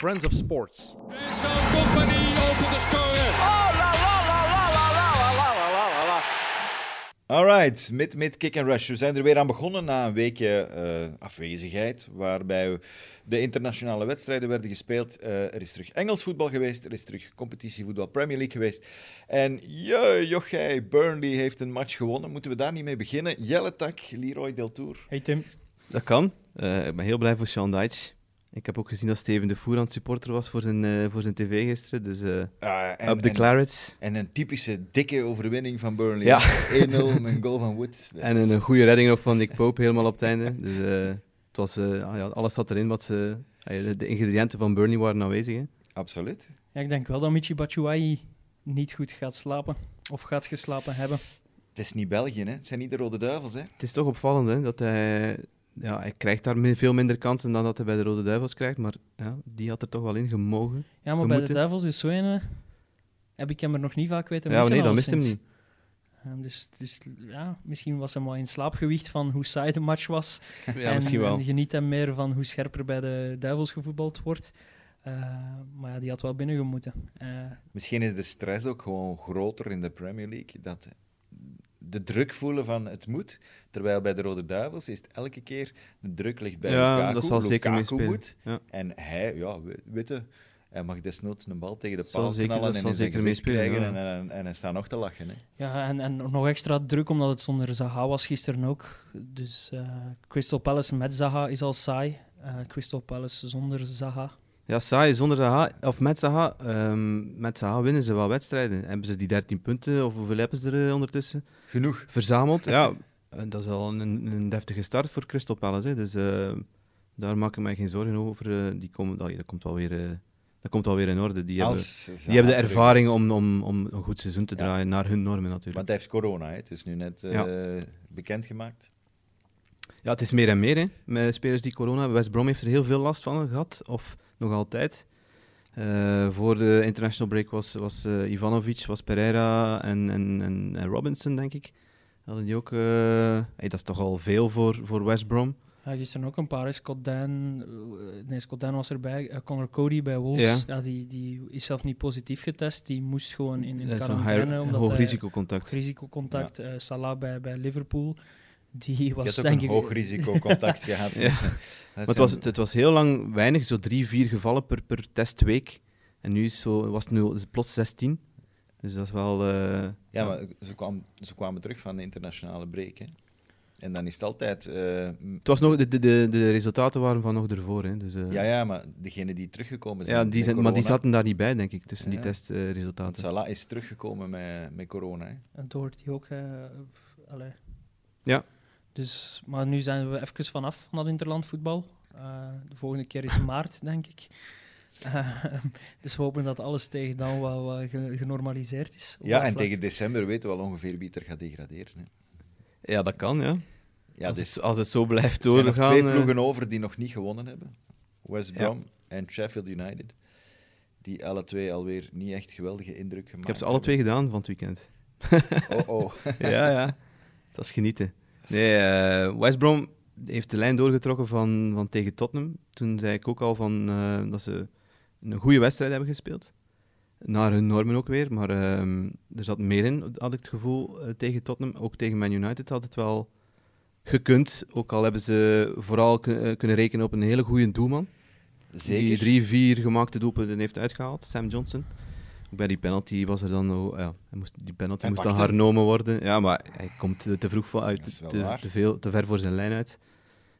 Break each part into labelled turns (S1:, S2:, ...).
S1: Friends of Sports.
S2: Vincent Company opent de score. Oh, la la la la la la la la la la la.
S3: Alright, mid, mid, kick and rush. We zijn er weer aan begonnen na een weekje eh, afwezigheid, waarbij we- de internationale wedstrijden werden gespeeld. Eh, er is terug Engels voetbal geweest, er is terug competitievoetbal Premier League geweest. En je, jochij, Burnley heeft een match gewonnen. Moeten we daar niet mee beginnen? Jelle Tak, Leroy Deltour.
S4: Hey Tim.
S5: Dat kan. Eh, ik ben heel blij voor Sean Dyche. Ik heb ook gezien dat Steven de Voer aan het supporter was voor zijn, eh, voor zijn tv gisteren. Dus eh
S3: Ah, en,
S5: up the
S3: en-
S5: Clarets.
S3: en een typische dikke overwinning van Burnley.
S5: Ja.
S3: 1-0, met een goal van Wood.
S5: En een goede redding nog van Nick Pope helemaal op het einde. Dus eh, het was, eh, ah ja, alles zat erin wat ze... ah ja, de- de ingrediënten van Bernie waren aanwezig. Hè.
S3: Absoluut.
S4: Ja, ik denk wel dat Michi Batshuayi niet goed gaat slapen. Of gaat geslapen hebben.
S3: Het is niet België, hè? het zijn niet de Rode Duivels. Hè?
S5: Het is toch opvallend hè, dat hij... Ja, hij krijgt daar mi- veel minder kansen dan dat hij bij de Rode Duivels krijgt. Maar ja, die had er toch wel in gemogen.
S4: Ja, maar
S5: We
S4: bij
S5: moeten-
S4: de Duivels is zo een... eh, Heb ik hem er nog niet vaak weten
S5: ja,
S4: missen,
S5: nee, dat mist hem
S4: alleszins.
S5: niet.
S4: Ehm, dus, dus ja, misschien was hem wel in slaapgewicht van hoe saai de match was.
S5: Ja,
S4: en,
S5: misschien wel.
S4: en geniet hem meer van hoe scherper bij de Duivels gevoetbald wordt. Eh, maar ja, die had wel binnengemoeten. Eh
S3: Misschien is de stress ook gewoon groter in de Premier League. Dat de druk voelen van het moet. Terwijl bij de Rode Duivels is het elke keer de druk ligt bij
S5: Ja,
S3: Lukaku.
S5: dat zal
S3: Lukaku
S5: zeker meespelen.
S3: moet.
S5: Ja.
S3: En hij, ja, we- weet je, hij mag desnoods een bal tegen de
S5: Zal
S3: paal
S5: zeker-
S3: knallen
S5: dat
S3: en
S5: zal
S3: in zijn
S5: zeker
S3: gezicht
S5: meespelen,
S3: krijgen.
S5: ja.
S3: En, en, en hij staat nog te lachen. Hè.
S4: Ja, en, en nog extra druk omdat het zonder Zaha was gisteren ook. Dus eh, Crystal Palace met Zaha is al saai. Eh, Crystal Palace zonder Zaha.
S5: Ja, saai. Zonder Zaha, of met Zaha, ehm, met Zaha winnen ze wel wedstrijden. Hebben ze die 13 punten, of hoeveel hebben ze er eh, ondertussen,
S3: Genoeg.
S5: verzameld? ja, eh, dat is al een, een deftige start voor Crystal Palace. Hè. Dus eh, daar maak ik mij geen zorgen over. eh, die komen, dat, dat, komt wel weer, eh, dat komt wel weer in orde. Die hebben,
S3: Als Zaha
S5: die hebben de
S3: terug is.
S5: ervaring om, om, om een goed seizoen te
S3: Ja.
S5: draaien, naar hun normen natuurlijk.
S3: Want hij heeft corona, hè. het is nu net eh, bekendgemaakt.
S5: Ja, het is meer en meer, hè. Met spelers die corona hebben. West Brom heeft er heel veel last van gehad, of nog altijd. Eh, voor de international break was, was eh, Ivanovic, was Pereira en, en, en, en Robinson, denk ik. Hadden die ook... eh, hey, dat is toch al veel voor, voor West Brom.
S4: Ja, gisteren ook een paar. hè. Scott Dan, eh, nee, Scott Dan was erbij. Eh, Connor Cody bij Wolves. Ja. die, die is zelf niet positief getest. Die moest gewoon in, in
S5: Dat is een
S4: quarantaine.
S5: high-
S4: omdat eh,
S5: hoog
S4: hij-
S5: risicocontact.
S4: risicocontact. Eh, Salah bij, bij Liverpool. Die
S3: Je
S4: was
S3: hebt ook
S4: denk
S3: een
S4: ik...
S3: hoog risicocontact gehad.
S5: Ja.
S3: met ze. Dat
S5: Maar
S3: zijn-
S5: het was, het was heel lang weinig, zo drie, vier gevallen per, per testweek. En nu is zo, was het nu is het plots 16. Dus dat is wel... eh,
S3: Ja, maar ze, kwam, ze kwamen terug van de internationale break. Hè? En dan is het altijd. eh, m-
S5: Het was nog, de, de, de, de resultaten waren van nog ervoor. Hè. Dus, eh,
S3: ja, ja, maar degenen die teruggekomen zijn.
S5: Ja, die
S3: met
S5: zijn, maar die
S3: corona,
S5: zaten daar niet bij, denk ik, tussen
S3: Ja.
S5: die
S3: want
S5: testresultaten.
S3: Salah is teruggekomen met, met corona. Hè?
S4: En toen hoort hij ook... eh, f- allee.
S5: Ja.
S4: Dus, maar nu zijn we even vanaf van dat interlandvoetbal. Eh, de volgende keer is maart, denk ik. Eh, dus we hopen dat alles tegen dan wel wel ge- genormaliseerd is. eh, op
S3: Ja,
S4: dat
S3: en
S4: vlak.
S3: tegen december weten we al ongeveer wie er gaat degraderen. Hè?
S5: ja, dat kan, ja.
S3: Ja,
S5: als,
S3: dus
S5: het, als het zo blijft
S3: er zijn nog
S5: doorgaan.
S3: twee
S5: eh,
S3: ploegen over die nog niet gewonnen hebben: West
S5: Ja.
S3: Brom en Sheffield United. Die alle twee alweer niet echt geweldige indruk gemaakt
S5: ik heb ze alle twee gedaan van het weekend.
S3: hebben. Oh, oh.
S5: ja, ja. Dat is genieten. Nee, eh West Brom heeft de lijn doorgetrokken van, van tegen Tottenham. Toen zei ik ook al van, eh, dat ze een goede wedstrijd hebben gespeeld. Naar hun normen ook weer, maar ehm, er zat meer in, had ik het gevoel, eh, tegen Tottenham. Ook tegen Man United had het wel gekund. Ook al hebben ze vooral kun- eh, kunnen rekenen op een hele goede doelman. Die
S3: Zeker.
S5: drie, vier gemaakte doelpunten heeft uitgehaald, Sam Johnson. Ook bij die penalty was er dan... oh, ja, hij moest, die penalty
S3: Hij
S5: moest dan
S3: pakt hem.
S5: hernomen worden. Ja, maar hij komt te, te vroeg voor,
S3: Dat is
S5: uit,
S3: wel
S5: te,
S3: waar.
S5: te, veel, te ver voor zijn lijn uit.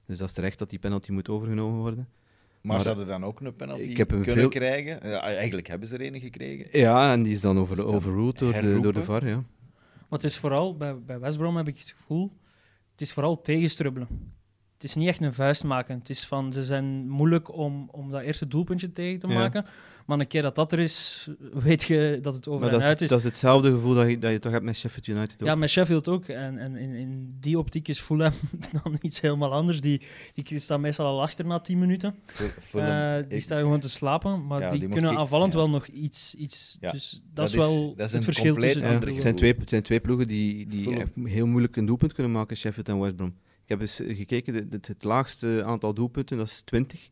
S5: Dus dat is terecht dat die penalty moet overgenomen worden.
S3: maar,
S5: maar-
S3: ze hadden dan ook een penalty
S5: Ik heb hem
S3: kunnen
S5: veel-
S3: krijgen. Eh, eigenlijk hebben ze er een gekregen.
S5: Ja, en die is dan over,
S3: Is dan
S5: overruled door de, door de
S3: herroepen?
S5: VAR, ja.
S4: Maar het is vooral, bij, bij West Brom heb ik het gevoel, het is vooral tegenstrubbelen. Het is niet echt een vuist maken. Het is van, ze zijn moeilijk om, om dat eerste doelpuntje tegen te
S5: Ja.
S4: maken. Maar een keer dat dat er is, weet je dat het over
S5: Maar
S4: en
S5: dat is,
S4: uit is.
S5: dat is hetzelfde gevoel dat je, dat je toch hebt met Sheffield United ook.
S4: Ja, met Sheffield ook. En, en in, in die optiek is Fulham dan iets helemaal anders. Die, die staan meestal al achter na 10 minuten.
S3: Voor, voor
S4: Eh,
S3: een-
S4: die
S3: ik-
S4: staan gewoon te slapen. Maar
S3: Ja,
S4: die,
S3: die moet
S4: kunnen
S3: ik-
S4: aanvallend
S3: ja.
S4: wel nog iets. iets
S3: Ja,
S4: Dus dat,
S3: dat
S4: is wel
S3: is- dat is een
S4: het verschil
S3: compleet
S4: tussen
S5: Ja,
S4: die
S3: andere
S4: ploegen.
S5: het, zijn twee, het zijn twee ploegen die, die
S3: Fulham.
S5: echt heel moeilijk een doelpunt kunnen maken, Sheffield en West Brom. Ik heb eens eh, gekeken, de- de- het, laagste aantal doelpunten, dat is 20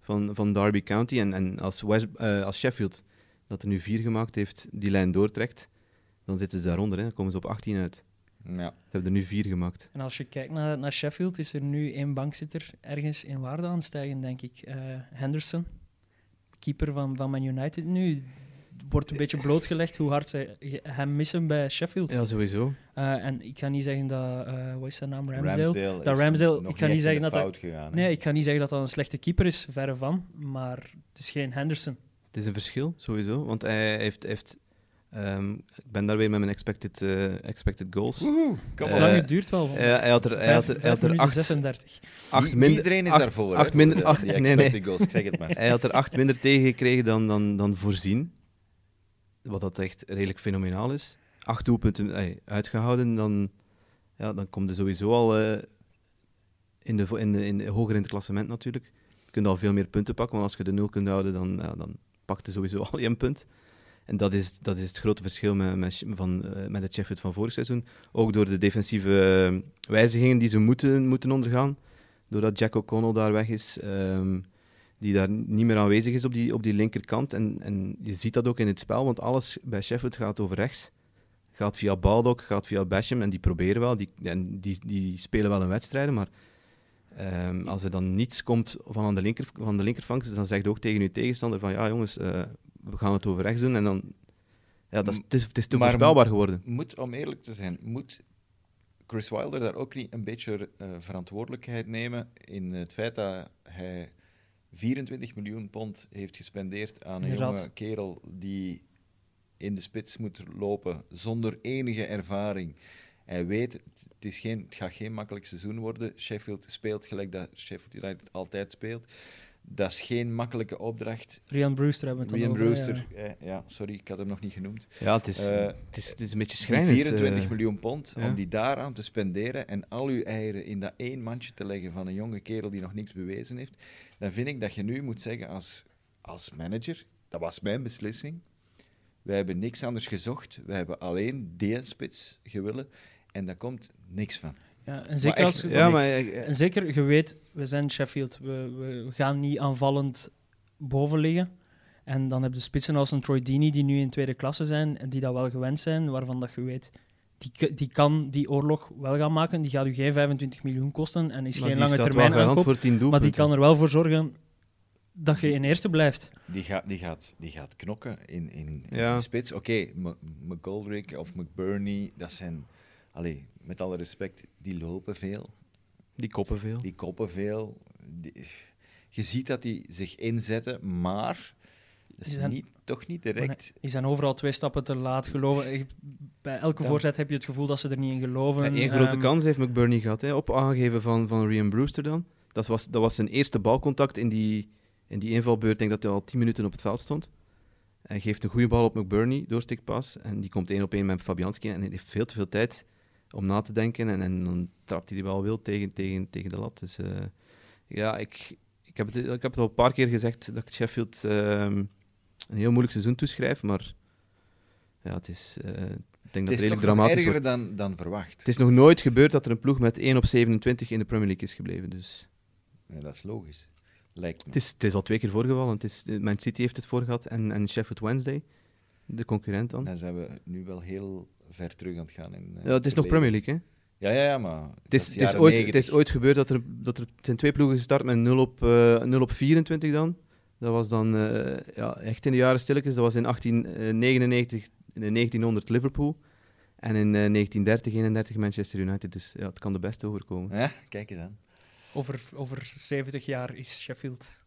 S5: van, van Derby County. En, en als, West, eh, als Sheffield, dat er nu vier gemaakt heeft, die lijn doortrekt, dan zitten ze daaronder. Hè. Dan komen ze op 18 uit.
S3: Ja.
S5: Ze hebben er nu vier gemaakt.
S4: En als je kijkt naar, naar Sheffield, is er nu één bankzitter ergens in waarde aan het stijgen, denk ik. Eh, Henderson, keeper van, van Man United nu, wordt een beetje blootgelegd hoe hard ze ge- hem missen bij Sheffield.
S5: Ja, sowieso.
S4: Eh, en ik ga niet zeggen dat, eh wat is zijn naam, Ramsdale?
S3: Ramsdale
S4: Dat
S3: is
S4: Ramsdale,
S3: nog
S4: ik kan
S3: niet
S4: niet
S3: echt in
S4: zeggen
S3: de
S4: dat hij-
S3: fout gegaan. hè.
S4: Nee, ik ga niet zeggen dat dat een slechte keeper is, verre van. Maar het is geen Henderson.
S5: Het is een verschil, sowieso. Want hij heeft... heeft ehm, ik ben daar weer met mijn expected, eh, expected goals.
S3: Woehoe, kom
S5: Eh,
S3: op.
S4: Lang het duurt wel.
S5: Eh, hij had er, hij
S4: Vijf-
S5: had er, hij
S4: vijf
S5: had er
S4: minuten
S5: acht,
S4: 36.
S5: acht
S3: Niet
S5: minder...
S3: iedereen is
S5: acht-
S3: daarvoor.
S5: acht minder- acht-
S3: nee,
S5: nee, nee.
S3: goals, ik zeg het maar.
S5: Hij had er acht minder tegen gekregen dan, dan, dan voorzien. Wat dat echt redelijk fenomenaal is. Acht doelpunten ey, uitgehouden, dan, ja, dan komt hij sowieso al eh, in de, vo- in de, in de- hoger in het klassement natuurlijk. Je kunt al veel meer punten pakken, want als je de nul kunt houden, dan, ja, dan pakt hij sowieso al één punt. En dat is, dat is het grote verschil met, met, Sh- van, eh, met het Sheffield van vorig seizoen. Ook door de defensieve eh, wijzigingen die ze moeten, moeten ondergaan. Doordat Jack O'Connell daar weg is. ehm, die daar niet meer aanwezig is op die, op die linkerkant. En, en je ziet dat ook in het spel, want alles bij Sheffield gaat over rechts. Gaat via Baldock, gaat via Basham, en die proberen wel. Die, en die, die spelen wel een wedstrijd, maar ehm, als er dan niets komt van aan de, linker, van de linkervang, dan zegt ook tegen je tegenstander van ja jongens, eh, we gaan het over rechts doen. En dan, ja, dat is, het, is, het is te
S3: Maar-
S5: voorspelbaar geworden.
S3: Moet, om eerlijk te zijn, moet Chris Wilder daar ook niet een beetje eh, verantwoordelijkheid nemen in het feit dat hij 24 miljoen pond heeft gespendeerd aan een
S4: Inderdaad.
S3: jonge kerel die in de spits moet lopen zonder enige ervaring. Hij weet, het, het is geen, het gaat geen makkelijk seizoen worden. Sheffield speelt gelijk dat Sheffield United altijd speelt. Dat is geen makkelijke opdracht.
S4: Rian Brewster hebben we het
S3: William
S4: dan over,
S3: Brewster,
S4: ja.
S3: eh, ja, sorry, ik had hem nog niet genoemd.
S5: Ja, het is,
S3: Eh,
S5: het is, het is een beetje
S3: Die
S5: schrijnend.
S3: 24
S5: eh.
S3: miljoen pond, om
S5: ja.
S3: die daaraan te spenderen en al uw eieren in dat één mandje te leggen van een jonge kerel die nog niks bewezen heeft, dan vind ik dat je nu moet zeggen als, als manager, dat was mijn beslissing, wij hebben niks anders gezocht, wij hebben alleen die spits gewillen en daar komt niks van.
S4: Ja, en zeker
S3: echt,
S4: als...
S3: miljoen.
S5: Ja,
S3: Niks.
S5: maar eh,
S4: En zeker, je weet, we zijn Sheffield. We, we gaan niet aanvallend boven liggen. En dan heb je spitsen als een Troy Deeney, die nu in tweede klasse zijn en die dat wel gewend zijn, waarvan dat je weet, die, k- die kan die oorlog wel gaan maken. Die gaat u geen 25 miljoen kosten en is
S5: maar
S4: geen
S5: die
S4: lange
S5: staat wel
S4: termijn
S5: garant
S4: aankoop.
S5: voor 10
S4: Maar die
S5: doelpunten.
S4: kan er wel voor zorgen dat je in eerste blijft.
S3: Die gaat, die gaat, die gaat knokken in, in, in
S5: Ja.
S3: de spits. Oké, M- McGoldrick of McBurney, dat zijn, allee, met alle respect, die lopen veel.
S5: Die koppen veel.
S3: Die koppen veel. Die- je ziet dat die zich inzetten, maar dat is
S4: Die zijn-
S3: niet, toch niet direct.
S4: Die zijn overal twee stappen te laat geloven. Je- Bij elke
S3: Ja.
S4: voorzet heb je het gevoel dat ze er niet in geloven.
S5: Eén grote
S4: Ehm,
S5: kans heeft McBurney gehad, hè, op aangegeven van, van Rian Brewster dan. Dat was, dat was zijn eerste balcontact in die, in die invalbeurt. Ik denk dat hij al 10 minuten op het veld stond. Hij geeft een goede bal op McBurney, doorsteekpas. En die komt één op één met Fabianski. En hij heeft veel te veel tijd om na te denken. En, en dan trapt hij die bal wild tegen, tegen, tegen de lat. Dus eh, ja, ik, ik, heb het, ik heb het al een paar keer gezegd dat ik Sheffield ehm, een heel moeilijk seizoen toeschrijf. Maar ja, het is, eh, ik denk dat
S3: het is toch
S5: het redelijk
S3: nog
S5: dramatisch
S3: erger dan,
S5: wordt.
S3: dan verwacht.
S5: Het is nog nooit gebeurd dat er een ploeg met 1 op 27 in de Premier League is gebleven. Dus
S3: Ja, dat is logisch. Lijkt me.
S5: het, is, het is al twee keer voorgevallen. Het is, eh, Man City heeft het voor gehad en, en Sheffield Wednesday, de concurrent dan.
S3: Dan zijn we nu wel heel ver terug aan het gaan. In, eh,
S5: Ja, het is nog
S3: verleden.
S5: Premier League, hè?
S3: Ja, ja, ja, maar.
S5: Het is, het is, ooit, het is ooit gebeurd dat er, dat er het zijn twee ploegen gestart met 0 op, eh, 0 op 24 dan. Dat was dan eh, ja, echt in de jaren stilletjes. Dat was in 1899, eh, 1900 Liverpool. En in eh, 1930, 31 Manchester United. Dus ja, het kan de beste overkomen.
S3: Ja, kijk eens aan.
S4: Over, over 70 jaar is Sheffield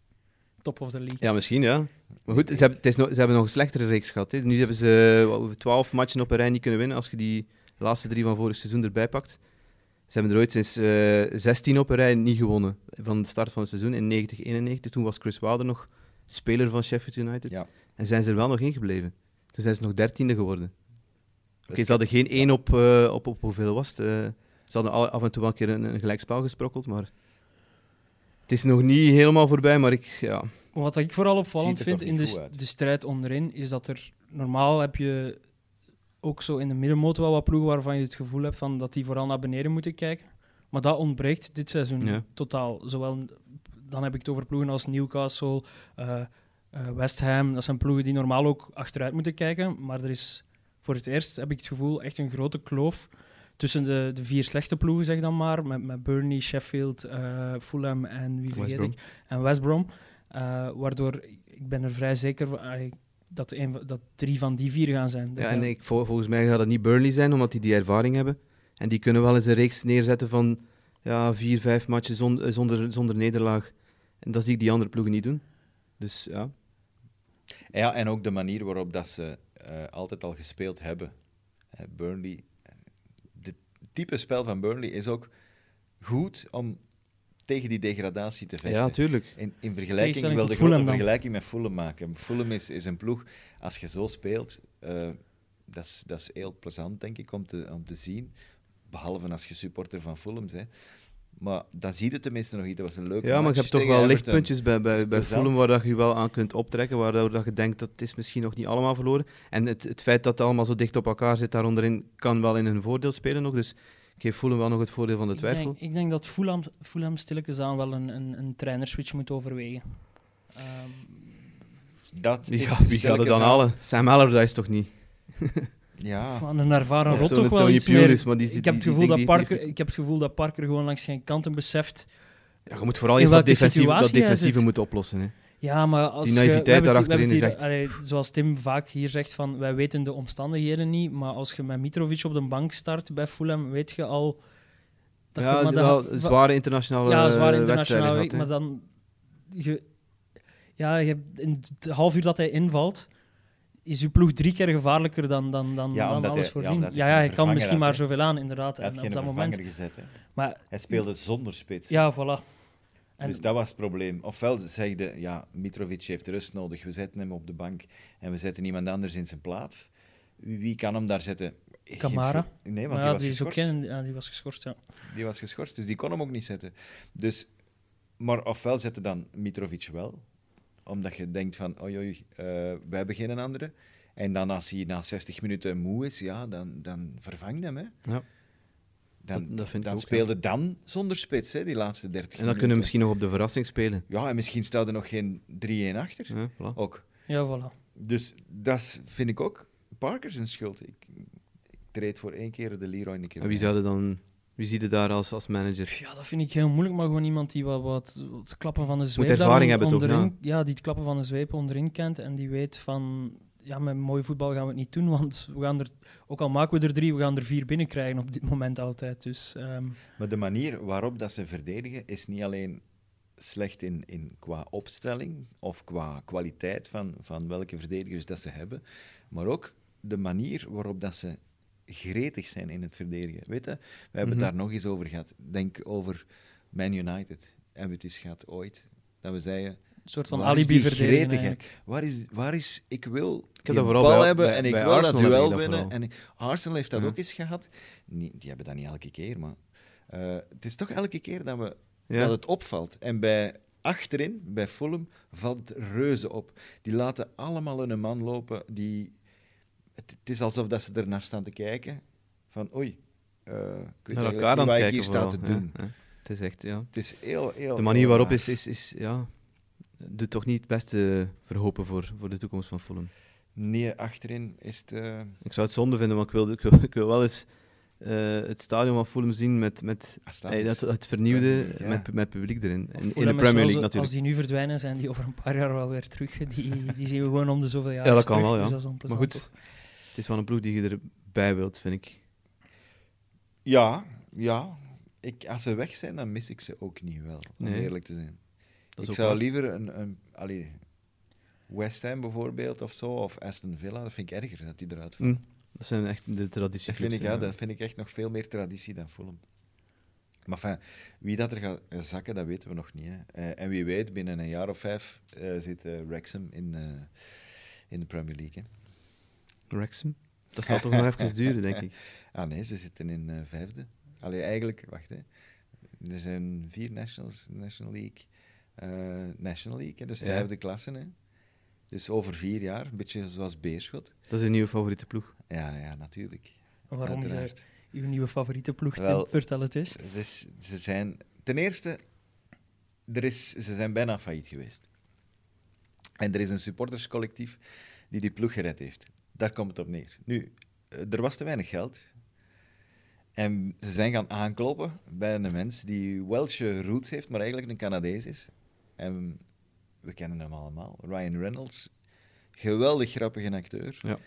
S4: top of the league.
S5: Ja, misschien, ja. Maar goed, ze hebben, het is nog, ze hebben nog een slechtere reeks gehad. Hè. Nu hebben ze eh, twaalf matchen op een rij niet kunnen winnen. Als je die laatste drie van vorig seizoen erbij pakt. Ze hebben er ooit sinds eh 16 op een rij niet gewonnen. eh, Van de start van het seizoen in 90-91. Toen was Chris Wilder nog speler van Sheffield United.
S3: Ja.
S5: En zijn ze er wel nog in gebleven. Toen zijn ze nog dertiende geworden. Oké,
S3: Dat-
S5: ze hadden geen één op, eh, op, op hoeveel was het? eh, ze hadden al- af en toe wel een keer een, een gelijkspel gesprokkeld, maar... Het is nog niet helemaal voorbij, maar ik... Ja,
S4: Maar Wat ik vooral
S3: Ziet
S4: opvallend
S3: er toch
S4: vind in de,
S3: niet goed
S4: s-
S3: uit.
S4: de strijd onderin, is dat er normaal heb je ook zo in de middenmoot wel wat ploegen waarvan je het gevoel hebt van dat die vooral naar beneden moeten kijken. Maar dat ontbreekt dit seizoen
S5: Ja.
S4: totaal. Zowel dan heb ik het over ploegen als Newcastle, eh, eh, West Ham. Dat zijn ploegen die normaal ook achteruit moeten kijken. Maar er is voor het eerst, heb ik het gevoel, echt een grote kloof tussen de, de vier slechte ploegen, zeg dan maar. Met, met Burnley, Sheffield, eh, Fulham en wie
S5: West
S4: vergeet
S5: Brom.
S4: ik? En West Brom. Eh, waardoor ik- ik ben er vrij zeker van, eh, dat, een, van- dat drie van die vier gaan zijn. Dat
S5: Ja,
S4: gaan-
S5: en ik, vol- volgens mij gaat dat niet Burnley zijn, omdat die die ervaring hebben. En die kunnen wel eens een reeks neerzetten van ja, vier, vijf matchen zon- eh, zonder, zonder nederlaag. En dat zie ik die andere ploegen niet doen. Dus ja,
S3: Ja, en ook de manier waarop dat ze eh, altijd al gespeeld hebben. Eh, Burnley, het type spel van Burnley is ook goed om tegen die degradatie te vechten.
S5: ja tuurlijk.
S3: in, in vergelijking, ik
S4: Tegenstelling
S3: wil de
S4: tot
S3: grote
S4: Fulham dan.
S3: vergelijking met Fulham maken. Fulham is, is een ploeg, als je zo speelt, eh, dat, is, dat is heel plezant, denk ik, om te, om te zien. Behalve als je supporter van Fulham bent. Maar dan zie je tenminste nog iets. Dat was een leuke
S5: Ja, maar
S3: match
S5: je hebt toch
S3: tegen
S5: wel
S3: Everton.
S5: lichtpuntjes bij,
S3: Dat
S5: bij,
S3: is
S5: bij
S3: plezant.
S5: Fulham waar dat je wel aan kunt optrekken, waar dat- dat je denkt dat het is misschien nog niet allemaal verloren. En het, het feit dat het allemaal zo dicht op elkaar zit daar onderin, kan wel in hun voordeel spelen nog. Dus ik geef Fulham wel nog het voordeel van de
S4: Ik
S5: twijfel.
S4: denk, ik denk dat Fulham, Fulham stilletjes aan wel een, een, een trainerswitch moet overwegen. Ehm,
S3: Dat
S5: Wie,
S3: is
S5: gaat- wie gaat
S3: stel
S5: het
S3: ik
S5: dan
S3: eens aan.
S5: halen? Sam Allardyce toch niet?
S3: Ja.
S4: van een ervaren
S5: Of
S4: rot
S5: Ah. zo'n
S4: toch wel
S5: Tony
S4: iets meer.
S5: Pulis, maar die-
S4: ik, heb het
S5: die- die
S4: gevoel
S5: ding
S4: dat
S5: die het
S4: Parker, ik heb het gevoel dat Parker gewoon langs geen kanten beseft.
S5: Ja, je moet vooral
S4: In
S5: eerst dat
S4: welke
S5: defensieve, dat
S4: situatie hij
S5: defensieve
S4: zit.
S5: moeten oplossen. Hè.
S4: Ja, maar als
S5: Die
S4: je-
S5: naïviteit
S4: we hebben het- we
S5: daarachterin
S4: hebben het
S5: is
S4: hier- allee, zoals Tim vaak hier zegt van, wij weten de omstandigheden niet, maar als je met Mitrovic op de bank start bij Fulham, weet je al dat
S5: ja,
S4: je, maar
S5: d-
S4: dat-
S5: wel
S4: wa-
S5: zware internationale
S4: ja, zwaar
S5: eh,
S4: internationaal
S5: wedstrijden
S4: week, maar
S5: gehad, hè.
S4: dan... Je, ja, je hebt in het half uur dat hij invalt, is je ploeg drie keer gevaarlijker dan, dan, dan,
S3: Ja,
S4: dan
S3: omdat
S4: alles
S3: hij-
S4: voorzien.
S3: ja, omdat hij
S4: ja,
S3: geen
S4: hij kan misschien maar
S3: vervanger
S4: zoveel aan, inderdaad.
S3: Hij had
S4: En
S3: geen
S4: op dat
S3: vervanger
S4: moment.
S3: gezet. Hè.
S4: Maar
S3: Hij speelde zonder spits.
S4: ja, voilà. En
S3: dus dat was het probleem. Ofwel zeiden, ja, Mitrovic heeft rust nodig, we zetten hem op de bank en we zetten iemand anders in zijn plaats. Wie kan hem daar zetten? Geen
S4: Kamara.
S3: fl- Nee, want
S4: maar
S3: die
S4: ja,
S3: was
S4: die is ook
S3: geschorst.
S4: geen, ja, die was geschorst, ja.
S3: Die was geschorst, dus die kon hem ook niet zetten. Dus, maar ofwel zetten dan Mitrovic wel, omdat je denkt van, oei, oei, eh, wij hebben geen andere. En dan als hij na 60 minuten moe is, ja, dan, dan vervang hem, hè.
S5: Ja.
S3: Dan,
S5: Dat- dat vind ik
S3: dan
S5: ook, ja.
S3: speelde dan zonder spits, hè, die laatste 30
S5: En dan
S3: minuten.
S5: kunnen we misschien nog op de verrassing spelen.
S3: Ja, en misschien staat er nog geen 3-1 achter.
S5: Ja, voilà.
S3: Ook.
S4: Ja, voilà.
S3: Dus dat is- vind ik ook Parker zijn schuld. Ik, ik treed voor één keer de Leroy een keer
S5: En wie
S3: bij.
S5: zouden dan... Wie ziet er daar als, als manager?
S4: Ja, dat vind ik heel moeilijk, maar gewoon iemand die wat, wat, wat klappen van de zweep daar
S5: ervaring hebben toch,
S4: onderin, Ja, die het klappen van de zweep onderin kent en die weet van... Ja, met mooi voetbal gaan we het niet doen, want we gaan er, ook al maken we er drie, we gaan er vier binnenkrijgen op dit moment altijd. Dus ehm,
S3: Maar de manier waarop dat ze verdedigen is niet alleen slecht in, in qua opstelling of qua kwaliteit van, van welke verdedigers dat ze hebben, maar ook de manier waarop dat ze gretig zijn in het verdedigen. Weet je, we hebben het
S5: Mhm.
S3: daar nog eens over gehad. Denk over Man United. Hebben we het eens gehad ooit? Dat we zeiden,
S4: Een soort van
S3: Waar is die
S4: alibi verdedigen.
S3: gretigheid?
S4: eigenlijk.
S3: Waar is, waar is, ik wil ik
S5: dat
S3: die
S5: vooral
S3: bal
S5: bij-
S3: hebben
S5: bij-
S3: en ik
S5: bij
S3: wil
S5: Arsenal
S3: dat
S5: heb ik
S3: duel
S5: dat
S3: winnen.
S5: vooral.
S3: En ik- Arsenal heeft dat
S5: Ja.
S3: ook eens gehad. Nee, die hebben dat niet elke keer, maar eh, het is toch elke keer dat, we,
S5: Ja.
S3: dat het opvalt. En bij achterin, bij Fulham, valt het reuze op. Die laten allemaal hun man lopen. Die, het, het is alsof dat ze ernaar staan te kijken. Van, oei, eh, ik weet
S5: Naar
S3: eigenlijk
S5: elkaar
S3: niet
S5: aan het
S3: wat ik
S5: kijken
S3: hier sta te
S5: vooral,
S3: doen.
S5: ja, ja. Het is echt, ja.
S3: Het is heel, heel...
S5: De manier
S3: heel
S5: waarop
S3: raar.
S5: is, is, is ja, doet toch niet het beste verhopen voor, voor de toekomst van Fulham.
S3: Nee, achterin is het... eh,
S5: Ik zou het zonde vinden, want ik wil, ik wil, ik wil wel eens eh, het stadion van Fulham zien met, met
S3: ah, staat
S5: eh,
S3: dus.
S5: dat, het vernieuwde,
S3: Ja.
S5: met, met publiek erin. In, in de
S4: Fulham is
S5: Premier
S4: zoals-
S5: League
S4: Als
S5: natuurlijk.
S4: die nu verdwijnen, zijn die over een paar jaar wel weer terug. Die, die zien we gewoon om de zoveel jaar
S5: Ja, dat
S4: eens
S5: kan
S4: terug,
S5: wel, ja.
S4: dus dat is
S5: Maar
S4: onplezant,
S5: goed,
S4: toch?
S5: het is wel een ploeg die je erbij wilt, vind ik.
S3: Ja, ja. Ik, als ze weg zijn, dan mis ik ze ook niet wel, om
S5: Nee.
S3: eerlijk te zijn.
S5: Dat is
S3: ik
S5: ook
S3: zou
S5: waar.
S3: liever een, een allee, West Ham bijvoorbeeld of zo, of Aston Villa, dat vind ik erger dat die eruit vallen.
S5: Hm, Dat zijn echt de tradities.
S3: Dat, vind ik, ja, dat vind ik echt nog veel meer traditie dan Fulham. Maar enfin, wie dat er gaat eh, zakken, dat weten we nog niet. Hè. Eh, en wie weet, binnen een jaar of vijf eh, zit eh, Wrexham in, eh, in de Premier League. Hè.
S5: Wrexham? Dat zal toch nog even duren, denk ik.
S3: Ah nee, ze zitten in eh, vijfde. Allee, eigenlijk, wacht hè. Er zijn vier Nationals, National League, eh, National League, hè, dus
S5: Ja.
S3: vijfde klassen. Hè. Dus over vier jaar, een beetje zoals Beerschot.
S5: Dat is een nieuwe favoriete ploeg.
S3: Ja, ja, natuurlijk.
S4: Waarom je
S3: Uiteraard.
S4: uw nieuwe favoriete ploeg, Tim,
S3: Wel,
S4: vertel het eens.
S3: Het is- ze zijn ten eerste er is, ze zijn bijna failliet geweest. En er is een supporterscollectief die die ploeg gered heeft. Daar komt het op neer. Nu, eh, er was te weinig geld. En ze zijn gaan aankloppen bij een mens die Welsh roots heeft, maar eigenlijk een Canadees is. En we kennen hem allemaal. Ryan Reynolds. Geweldig grappige acteur.
S5: Ja.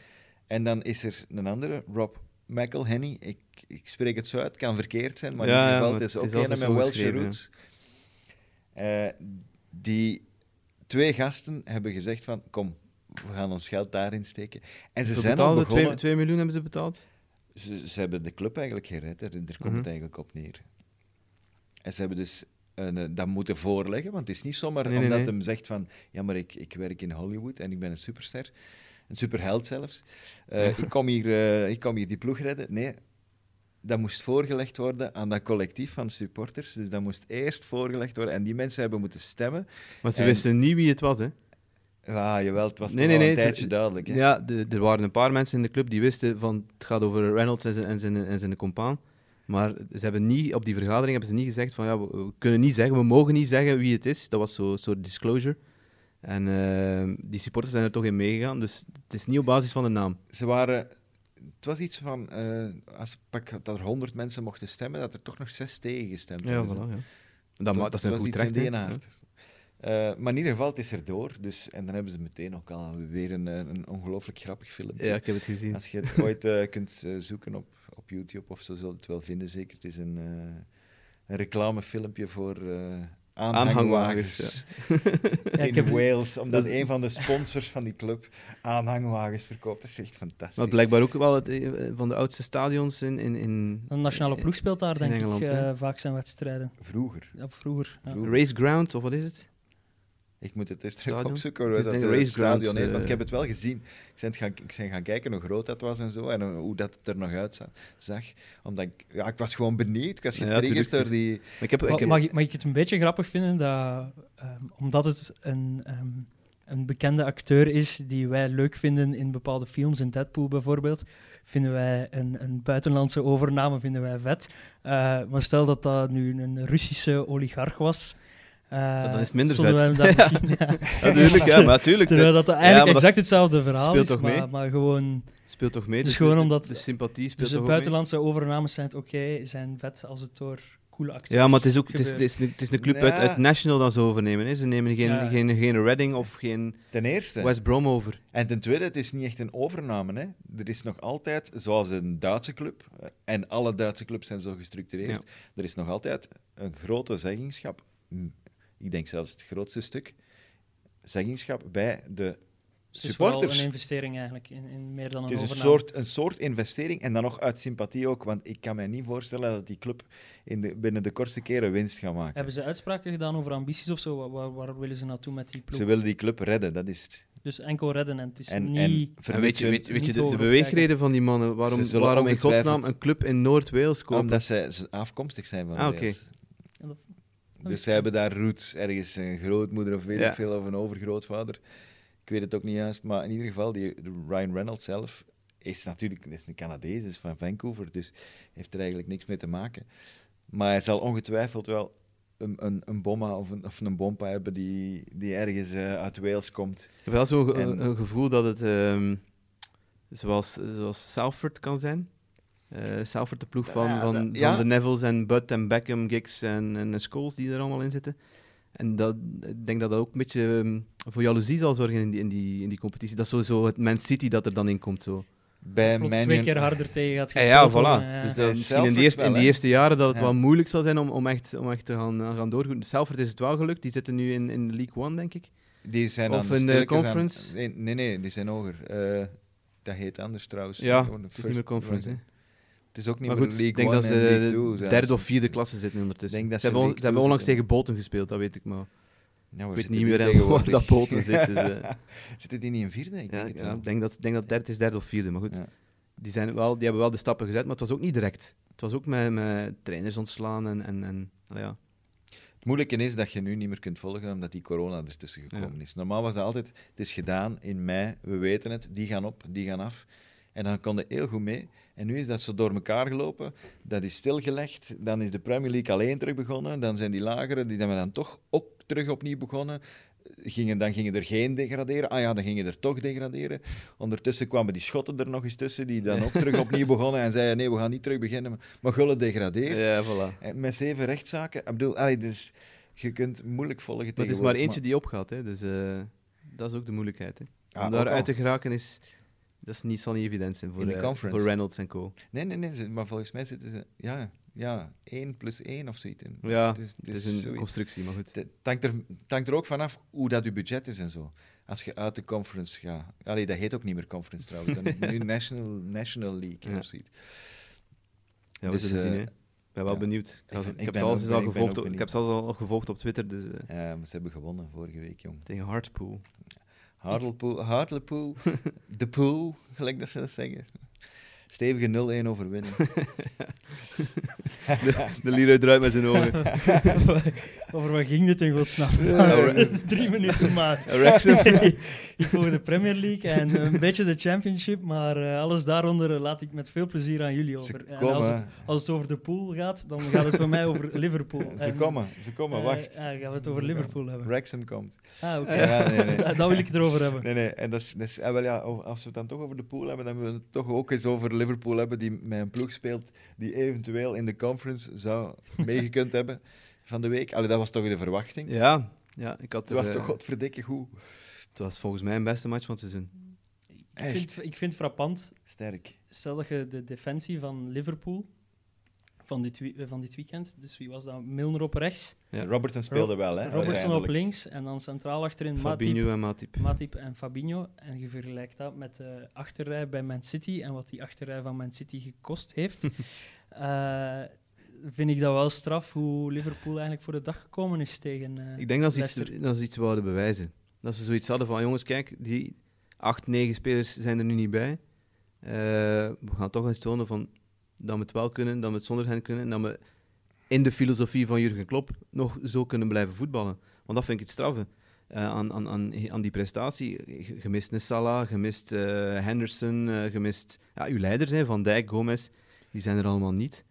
S3: En dan is er een andere, Rob McElhenney. Ik, ik spreek het zo uit, kan verkeerd zijn, maar in
S5: Ja,
S3: ieder
S5: ja,
S3: geval,
S5: maar
S3: het is
S5: het
S3: ook
S5: is altijd
S3: een met
S5: zo
S3: Welsh
S5: geschreven, ja.
S3: roots. Eh, die twee gasten hebben gezegd van, kom, we gaan ons geld daarin steken. En ze
S5: Ze
S3: zijn al
S5: betaalden
S3: begonnen...
S5: 2, 2 miljoen hebben ze betaald.
S3: Ze, ze hebben de club eigenlijk gered, hè. daar komt het
S5: Mhm.
S3: eigenlijk op neer. En ze hebben dus een, eh, dat moeten voorleggen, want het is niet zomaar
S5: Nee, nee,
S3: omdat
S5: nee.
S3: hem zegt van ja, maar ik, ik werk in Hollywood en ik ben een superster, een superheld zelfs. Eh, ik, kom hier, eh, ik kom hier die ploeg redden. Nee, dat moest voorgelegd worden aan dat collectief van supporters. Dus dat moest eerst voorgelegd worden en die mensen hebben moeten stemmen.
S5: Maar ze
S3: En-
S5: wisten niet wie het was, hè?
S3: Ah, jawel, het was
S5: Nee,
S3: toch
S5: nee,
S3: al
S5: nee,
S3: een
S5: ze-
S3: tijdje duidelijk. Hè?
S5: Ja, de- er waren een paar mensen in de club die wisten van het gaat over Reynolds en zijn, en zijn, en zijn compaan. Maar ze hebben niet, op die vergadering hebben ze niet gezegd van ja, we, we kunnen niet zeggen, we mogen niet zeggen wie het is. Dat was zo'n soort disclosure. En eh, die supporters zijn er toch in meegegaan. Dus het is niet op basis van de naam.
S3: ze waren. Het was iets van. eh, als pak dat er 100 mensen mochten stemmen, dat er toch nog zes tegen gestemd
S5: Ja,
S3: hebben.
S5: voilà, ja. Dat, ma- dat is een
S3: was
S5: goed
S3: iets in
S5: recht.
S3: die
S5: hè. Ja.
S3: aard. Eh, maar in ieder geval, het is er door. Dus, en dan hebben ze meteen ook al weer een, eh, een ongelooflijk grappig filmpje.
S5: Ja, ik heb het gezien.
S3: Als je het ooit eh, kunt eh, zoeken op, op YouTube of zo, zul je het wel vinden zeker. Het is een, eh, een reclamefilmpje voor eh aanhangwagens.
S5: Aanhangwagens,
S4: Ja,
S3: In
S4: ik heb-
S3: Wales, omdat
S5: dat is-
S3: een van de sponsors van die club aanhangwagens verkoopt. Dat is echt fantastisch.
S5: Maar blijkbaar ook wel het, eh, van de oudste stadions in, in, in
S4: Een nationale ploeg speelt daar,
S5: In
S4: denk
S5: Engeland,
S4: ik,
S5: hè?
S4: eh, vaak zijn wedstrijden.
S3: Vroeger.
S4: Ja, vroeger. Ja.
S3: Vroeger.
S5: Race Ground, of wat is het?
S3: Ik moet het eens terug
S5: Stadion?
S3: opzoeken hoe
S5: Het
S3: dat
S5: is
S3: het
S5: denk ik
S3: eh,
S5: raceground,
S3: stadion heet. Want ik
S5: eh.
S3: heb het wel gezien. Ik ben, het gaan, ik ben gaan kijken hoe groot dat was en zo. En eh, hoe dat het er nog uitzag. Omdat ik, ja, ik was gewoon benieuwd. Ik was
S5: Ja,
S3: getriggerd
S5: tuurlijk, dus-
S3: door die.
S5: Maar Ik heb, ik
S4: Mag,
S5: heb-
S4: mag, ik- mag ik het een beetje grappig vinden dat, ehm, omdat het een, ehm, een bekende acteur is die wij leuk vinden in bepaalde films, in Deadpool bijvoorbeeld, vinden wij een, een buitenlandse overname vinden wij vet. Eh, maar stel dat dat nu een Russische oligarch was. eh,
S5: dan is het minder
S4: zonden wij
S5: vet.
S4: hem daar misschien, ja.
S5: natuurlijk, ja, maar natuurlijk.
S4: Terwijl dat eigenlijk
S5: maar dat
S4: exact hetzelfde verhaal
S5: speelt
S4: is,
S5: toch mee?
S4: maar, maar gewoon...
S5: speelt toch mee.
S4: Dus gewoon
S5: de-
S4: omdat-
S5: De sympathie speelt
S4: Dus de
S5: toch ook mee?
S4: buitenlandse overnames zijn het oké, zijn vet als het door coole acteurs
S5: Ja, maar het is ook het is,
S4: gebeurt.
S5: het is, een- het is een club uit,
S3: Ja.
S5: uit National dat ze overnemen. Hè. Ze nemen geen,
S4: Ja.
S5: geen, geen Reading of geen
S3: Ten eerste.
S5: West Brom over.
S3: En ten tweede, het is niet echt een overname. Hè. Er is nog altijd, zoals een Duitse club, eh, en alle Duitse clubs zijn zo gestructureerd, er is nog altijd een grote zeggingschap, m, ik denk zelfs het grootste stuk, zeggingschap bij de
S4: Het is wel
S3: supporters.
S4: een investering eigenlijk, in, in meer dan een
S3: Het is een
S4: overname.
S3: soort, een soort investering en dan nog uit sympathie ook, want ik kan mij niet voorstellen dat die club in de, binnen de kortste keren winst gaat maken.
S4: Hebben ze uitspraken gedaan over ambities of zo? Wa- Waar, waar willen ze naartoe met die ploeg?
S3: Ze willen die club redden, dat is het.
S4: Dus enkel redden en het is
S3: En,
S4: niet...
S3: en
S5: En weet je, weet, weet
S4: niet
S5: je de, de
S4: hoger
S5: beweegreden van die mannen? Waarom,
S3: Ze zullen
S5: waarom in godsnaam
S3: ongetwijfeld-
S5: een club in Noord-Wales komt?
S3: omdat zij ze afkomstig zijn van
S5: Ah, oké.
S3: Wales.
S4: Ja, dat- dat
S3: Dus
S4: is-
S3: zij hebben daar roots, ergens een grootmoeder of weet
S5: Ja.
S3: ik veel, of een overgrootvader. Ik weet het ook niet juist, maar in ieder geval, die de Ryan Reynolds zelf is natuurlijk is een Canadees, is van Vancouver, dus heeft er eigenlijk niks mee te maken. Maar hij zal ongetwijfeld wel een, een, een bomma of een, of een bompa hebben die, die ergens eh, uit Wales komt.
S5: Ik heb wel zo'n ge-
S3: En-
S5: een gevoel dat het ehm, zoals, zoals Salford kan zijn. Eh Salford, de ploeg van,
S3: Ja,
S5: van,
S3: dat-
S5: van
S3: ja.
S5: de Neville's en Bud en Beckham, Giggs en, en Scholes die er allemaal in zitten. En dat, ik denk dat dat ook een beetje ehm, voor jaloezie zal zorgen in die, in die, in die competitie. Dat is sowieso het Man City dat er dan in komt. Zo.
S3: Bij
S4: Plots
S3: Man
S4: twee
S3: Un-
S4: keer harder tegen gaat
S5: Ja,
S4: gespeeld
S5: ja, voilà.
S4: worden, ja.
S5: Dus
S3: Ja,
S5: dat, misschien in,
S3: Salford
S5: de eerste, in
S3: wel,
S5: die
S3: hè?
S5: eerste jaren dat het
S3: Ja.
S5: wel moeilijk zal zijn om, om, echt, om echt te gaan, eh, gaan doorgroeien. Salford is het wel gelukt. Die zitten nu in, in League One, denk ik.
S3: Die zijn
S5: Of
S3: aan
S5: in de
S3: stilletjes aan-
S5: conference.
S3: nee, nee, nee, die zijn hoger. Eh, dat heet anders trouwens.
S5: Ja,
S3: Gewoon de
S5: het is
S3: first-
S5: niet meer conference. hè.
S3: Het is ook niet
S5: maar
S3: meer
S5: goed,
S3: League
S5: ik denk
S3: One
S5: dat
S3: en League
S5: ze
S3: Two zelfs.
S5: derde of vierde klasse zitten ondertussen.
S3: Denk dat
S5: ze
S3: ze
S5: hebben, on-
S3: League
S5: ze
S3: Two
S5: hebben onlangs
S3: zitten.
S5: tegen Bolton gespeeld, dat weet ik maar.
S3: Ja,
S5: Ik
S3: we
S5: weet
S3: zitten
S5: niet
S3: die
S5: meer helemaal waar
S3: tegenwoordig.
S5: dat Bolton zit. Dus, eh,
S3: Zitten die niet in vierde? Ik
S5: ja,
S3: denk het
S5: ja,
S3: wel.
S5: ik denk dat, ik denk dat derde is derde of vierde, maar goed.
S3: Ja.
S5: Die, zijn wel, die hebben wel de stappen gezet, maar het was ook niet direct. Het was ook met, met trainers ontslaan en... en, en nou ja.
S3: Het moeilijke is dat je nu niet meer kunt volgen omdat die corona ertussen gekomen is. Normaal was dat altijd, het is gedaan in mei, we weten het, die gaan op, die gaan af. En dan kon je heel goed mee. En nu is dat zo door elkaar gelopen, dat is stilgelegd. Dan is de Premier League alleen terug begonnen. Dan zijn die lagere, die hebben dan toch ook terug opnieuw begonnen. Gingen, dan gingen er geen degraderen. Ah ja, dan gingen er toch degraderen. Ondertussen kwamen die Schotten er nog eens tussen, die dan ook terug opnieuw begonnen en zeiden nee, we gaan niet terug beginnen, maar- maar gullen degraderen.
S5: Ja, voilà.
S3: En Eh, Met zeven rechtszaken. Ik bedoel, allee, dus je kunt moeilijk volgen
S5: Dat is
S3: tegenwoordig,
S5: maar eentje die opgaat, hè. dus eh, dat is ook de moeilijkheid. Hè.
S3: Ah, ook
S5: Om
S3: al.
S5: daaruit te geraken is, dat is niet, zal niet evident zijn
S3: In
S5: voor,
S3: de
S5: eh,
S3: conference.
S5: voor Reynolds en co.
S3: Nee, nee, nee. ze- Maar volgens mij zitten ze... Ja, ja 1 plus 1 of zoiets. in. Dus
S5: Ja,
S3: Het is- het
S5: het is
S3: is
S5: een
S3: zoiets.
S5: constructie, maar goed.
S3: Het hangt er, het hangt er ook vanaf hoe dat je budget is en zo. Als je uit de conference gaat... Allee, dat heet ook niet meer conference trouwens. Dan nu National, National League
S5: Ja.
S3: of zoiets.
S5: Ja, we
S3: Dus,
S5: zullen zien,
S3: eh,
S5: hè. Ik ben wel
S3: ja.
S5: benieuwd. Ik, had-
S3: ben-
S5: ik
S3: ik
S5: heb
S3: ben
S5: ze al,
S3: ook-
S5: ze al
S3: ik ben
S5: gevolgd
S3: ook
S5: op- ik heb ze al al gevolgd op Twitter, dus, eh,
S3: Eh, maar ze hebben gewonnen vorige week, jong.
S5: tegen Hartpool.
S3: Hartlepool, Hartlepool de pool, gelijk dat ze dat zeggen. Stevige 0-1 overwinning.
S5: De, de Leroy draait met zijn ogen.
S4: Over wat ging dit in godsnaam? Drie minuten maat.
S5: Wrexham.
S4: ik volg de Premier League en een beetje de Championship, maar eh, alles daaronder eh, laat ik met veel plezier aan jullie
S3: Ze
S4: over. En als, het,
S3: komen,
S4: als het over de pool gaat, dan gaat het voor mij over Liverpool.
S3: ze
S4: En,
S3: komen, ze komen,
S4: eh,
S3: wacht.
S4: ja, gaan we het over Liverpool hebben.
S3: Wrexham komt.
S4: Ah, oké.
S3: Ja, nee, nee.
S4: Dat wil ik het erover hebben.
S3: Nee, nee, en dat is, dat is- ah, wel ja, o- als we het dan toch over de pool hebben, dan willen we het toch ook eens over Liverpool hebben, die met een ploeg speelt die eventueel in de conference zou meegekund hebben van de week. Allee, dat was toch de verwachting?
S5: Ja, ja, ik had
S3: Het was
S5: er,
S3: toch
S5: eh,
S3: godverdikke goed.
S5: het was volgens mij mijn beste match van het seizoen.
S4: Ik vind,
S3: Echt,
S4: ik vind het frappant
S3: sterk.
S4: Stel dat je de defensie van Liverpool van dit, wie- eh, van dit weekend, dus wie was dat? Milner op rechts,
S5: Ja.
S3: Robertson speelde wel, hè?
S4: Robertson op
S3: uiteindelijk.
S4: links en dan centraal achterin Matip,
S5: Fabinho en Matip.
S4: Matip en Fabinho. En je vergelijkt dat met de achterrij bij Man City en wat die achterrij van Man City gekost heeft. Eh, vind ik dat wel straf hoe Liverpool eigenlijk voor de dag gekomen is tegen. eh,
S5: Ik denk dat ze,
S4: Leicester.
S5: iets, dat ze iets wouden bewijzen. Dat ze zoiets hadden van, jongens, kijk, die acht, negen spelers zijn er nu niet bij. Eh, we gaan toch eens tonen van, dat we het wel kunnen, dat we het zonder hen kunnen. En dat we in de filosofie van Jurgen Klopp nog zo kunnen blijven voetballen. Want dat vind ik het straffe. eh, aan, aan, aan, aan die prestatie. Ge- Gemist een Salah, gemist eh, Henderson, eh, gemist... Ja, uw leiders, hè, Van Dijk, Gomez, die zijn er allemaal niet.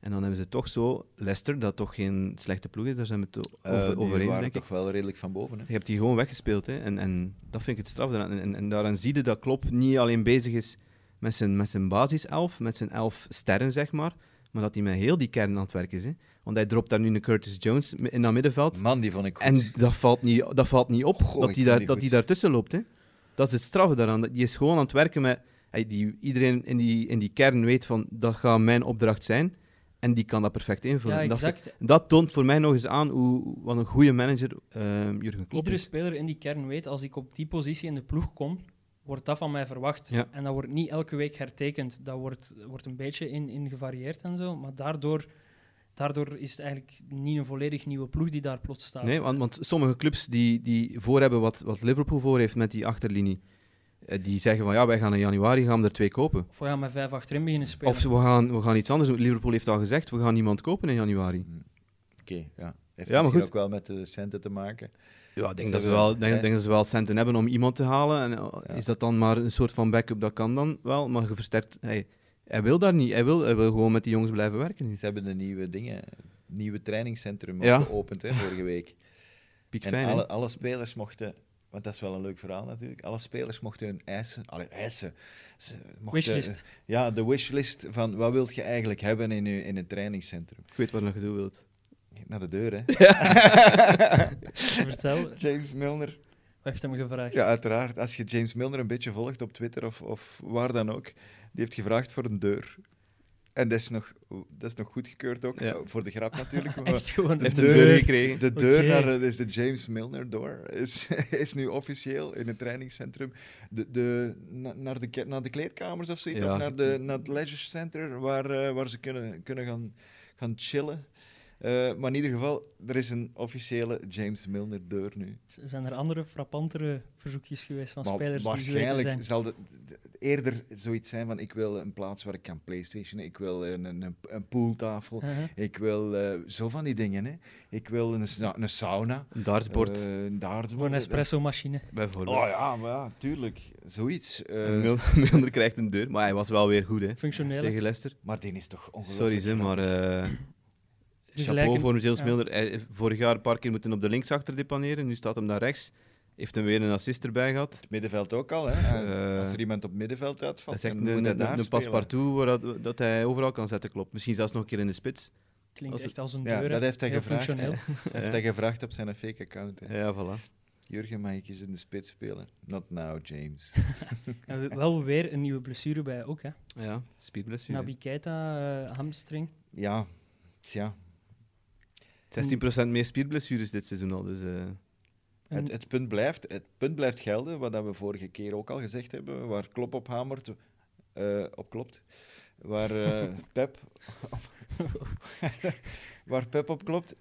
S5: En dan hebben ze toch zo Leicester, dat toch geen slechte ploeg is, daar zijn we het o-
S3: Eh,
S5: over,
S3: die
S5: over eens,
S3: waren
S5: denk ik.
S3: toch wel redelijk van boven, hè?
S5: Je hebt die gewoon weggespeeld. Hè? En, en dat vind ik het straf. daaraan. En, en, en daaraan zie je dat Klopp niet alleen bezig is met zijn, met zijn basiself, met zijn elf sterren, zeg maar. Maar dat hij met heel die kern aan het werk is. Hè? Want hij dropt daar nu een Curtis Jones mi- in dat middenveld.
S3: Man, die vond ik goed.
S5: En dat valt niet, dat valt niet op
S3: Goh, ik
S5: dat, hij
S3: vind
S5: daar,
S3: die
S5: dat
S3: goed.
S5: hij daartussen loopt. Hè? Dat is het straffe daaraan. Dat- Die is gewoon aan het werken met... Hij, die, iedereen in die, in die kern weet van, dat gaat mijn opdracht zijn. En die kan dat perfect invullen.
S4: ja,
S5: En dat,
S4: exact.
S5: dat toont voor mij nog eens aan hoe, wat een goede manager ehm Jurgen Klopp
S4: Iedere
S5: is.
S4: speler in die kern weet, als ik op die positie in de ploeg kom, wordt dat van mij verwacht.
S5: Ja.
S4: En dat wordt niet elke week hertekend. Dat wordt, wordt een beetje in, in gevarieerd en zo. Maar daardoor, daardoor is het eigenlijk niet een volledig nieuwe ploeg die daar plots staat.
S5: Nee, want, want sommige clubs die, die voor hebben wat, wat Liverpool voor heeft met die achterlinie, eh, die zeggen van ja, wij gaan in januari gaan we er twee kopen.
S4: Of we gaan met vijf achterin beginnen spelen.
S5: Of we gaan, we gaan iets anders doen. Liverpool heeft al gezegd, we gaan niemand kopen in januari.
S3: Mm. Oké, ja. Heeft
S5: Ja,
S3: misschien
S5: maar goed.
S3: ook wel met de centen te maken.
S5: Ja, ik denk
S3: Ze
S5: dat ze
S3: hebben-
S5: wel, ik denk,
S3: hè?
S5: ik denk dat ze wel centen hebben om iemand te halen. En, eh,
S3: Ja.
S5: Is dat dan maar een soort van backup? Dat kan dan wel, maar je versterkt... Hij, hij wil daar niet. Hij wil, hij wil gewoon met die jongens blijven werken. nu.
S3: Ze hebben de nieuwe dingen, het nieuwe trainingscentrum
S5: Ja.
S3: ook geopend hè, vorige week.
S5: Piek
S3: en
S5: fijn, hè?
S3: alle, alle spelers mochten, want dat is wel een leuk verhaal natuurlijk, alle spelers mochten hun eisen, alle eisen, ze mochten, eh,
S4: Wishlist.
S3: Ja, de wishlist van wat wilt je eigenlijk hebben in, je, in een trainingscentrum.
S5: Ik weet wat je naartoe wilt.
S3: Naar de deur, hè.
S4: Vertel, wat
S3: James Milner.
S4: heeft hem gevraagd?
S3: Ja, uiteraard. Als je James Milner een beetje volgt op Twitter of, of waar dan ook, die heeft gevraagd voor een deur. En dat is nog, dat is nog goedgekeurd ook,
S5: Ja.
S3: voor de grap natuurlijk. maar
S4: Echt gewoon
S3: De
S5: Hij heeft
S4: de
S5: een
S3: deur-
S5: deur gekregen.
S3: De deur
S4: Oké.
S3: naar de, is de James Milner door is, is nu officieel in het trainingscentrum. De, de, na- naar, de, ke- naar de kleedkamers of zoiets,
S5: Ja.
S3: of naar, de, naar het leisure center waar, eh, waar ze kunnen, kunnen gaan, gaan chillen. Eh, maar in ieder geval, er is een officiële James Milner deur nu.
S4: Zijn er andere frappantere verzoekjes geweest van
S3: Maar
S4: spelers die zo weten
S3: waarschijnlijk
S4: zijn?
S3: zal het eerder zoiets zijn van ik wil een plaats waar ik kan playstationen, ik wil een, een, een- een pooltafel,
S4: Uh-huh.
S3: ik wil eh, zo van die dingen. Hè. Ik wil een, sa- een sauna.
S5: Een dartsbord,
S3: Eh, een
S4: Voor
S3: dartbord.
S4: een espresso-machine.
S5: bijvoorbeeld.
S3: Oh ja, maar ja, tuurlijk. Zoiets. eh,
S5: En Mil- Milner krijgt een deur, maar hij was wel weer goed hè,
S4: Functionele.
S5: tegen Leicester.
S3: maar die is toch ongelooflijk.
S5: Sorry, Zim, maar eh, Chapeau
S4: gelijke-
S5: voor James
S4: ja.
S5: Milner. Hij- vorig jaar een paar keer moeten op de linksachter depaneren. Nu staat hem daar rechts. Heeft hem weer een assist erbij gehad.
S3: Het middenveld ook al. Hè. En
S5: Eh,
S3: als er iemand op middenveld
S5: Dat
S3: uitvalt,
S5: is echt
S3: dan
S5: een,
S3: moet hij
S5: een,
S3: daar
S5: een,
S3: spelen.
S5: paspartout waar dat, dat hij overal kan zetten, klopt. Misschien zelfs nog een keer in de spits.
S4: Klinkt
S5: Als het-
S4: echt als een
S3: Ja,
S4: deur. hè.
S3: dat heeft hij
S4: Heel
S3: gevraagd.
S4: functioneel.
S3: Heeft hij gevraagd op zijn fake account. hè.
S5: Ja, voilà.
S3: Jurgen, mag ik eens in de spits spelen? Not now, James.
S4: En we- wel weer een nieuwe blessure bij ook, hè.
S5: Ja, spierblessure.
S4: Nabi Keita, eh, hamstring.
S3: ja, tja.
S5: 16% meer spierblessures dit seizoen al. Dus, eh,
S4: En-
S3: Het, het, punt blijft, het punt blijft gelden, wat dat we vorige keer ook al gezegd hebben, waar Klop op hamert, eh, op klopt. Waar eh, Pep... waar Pep op klopt.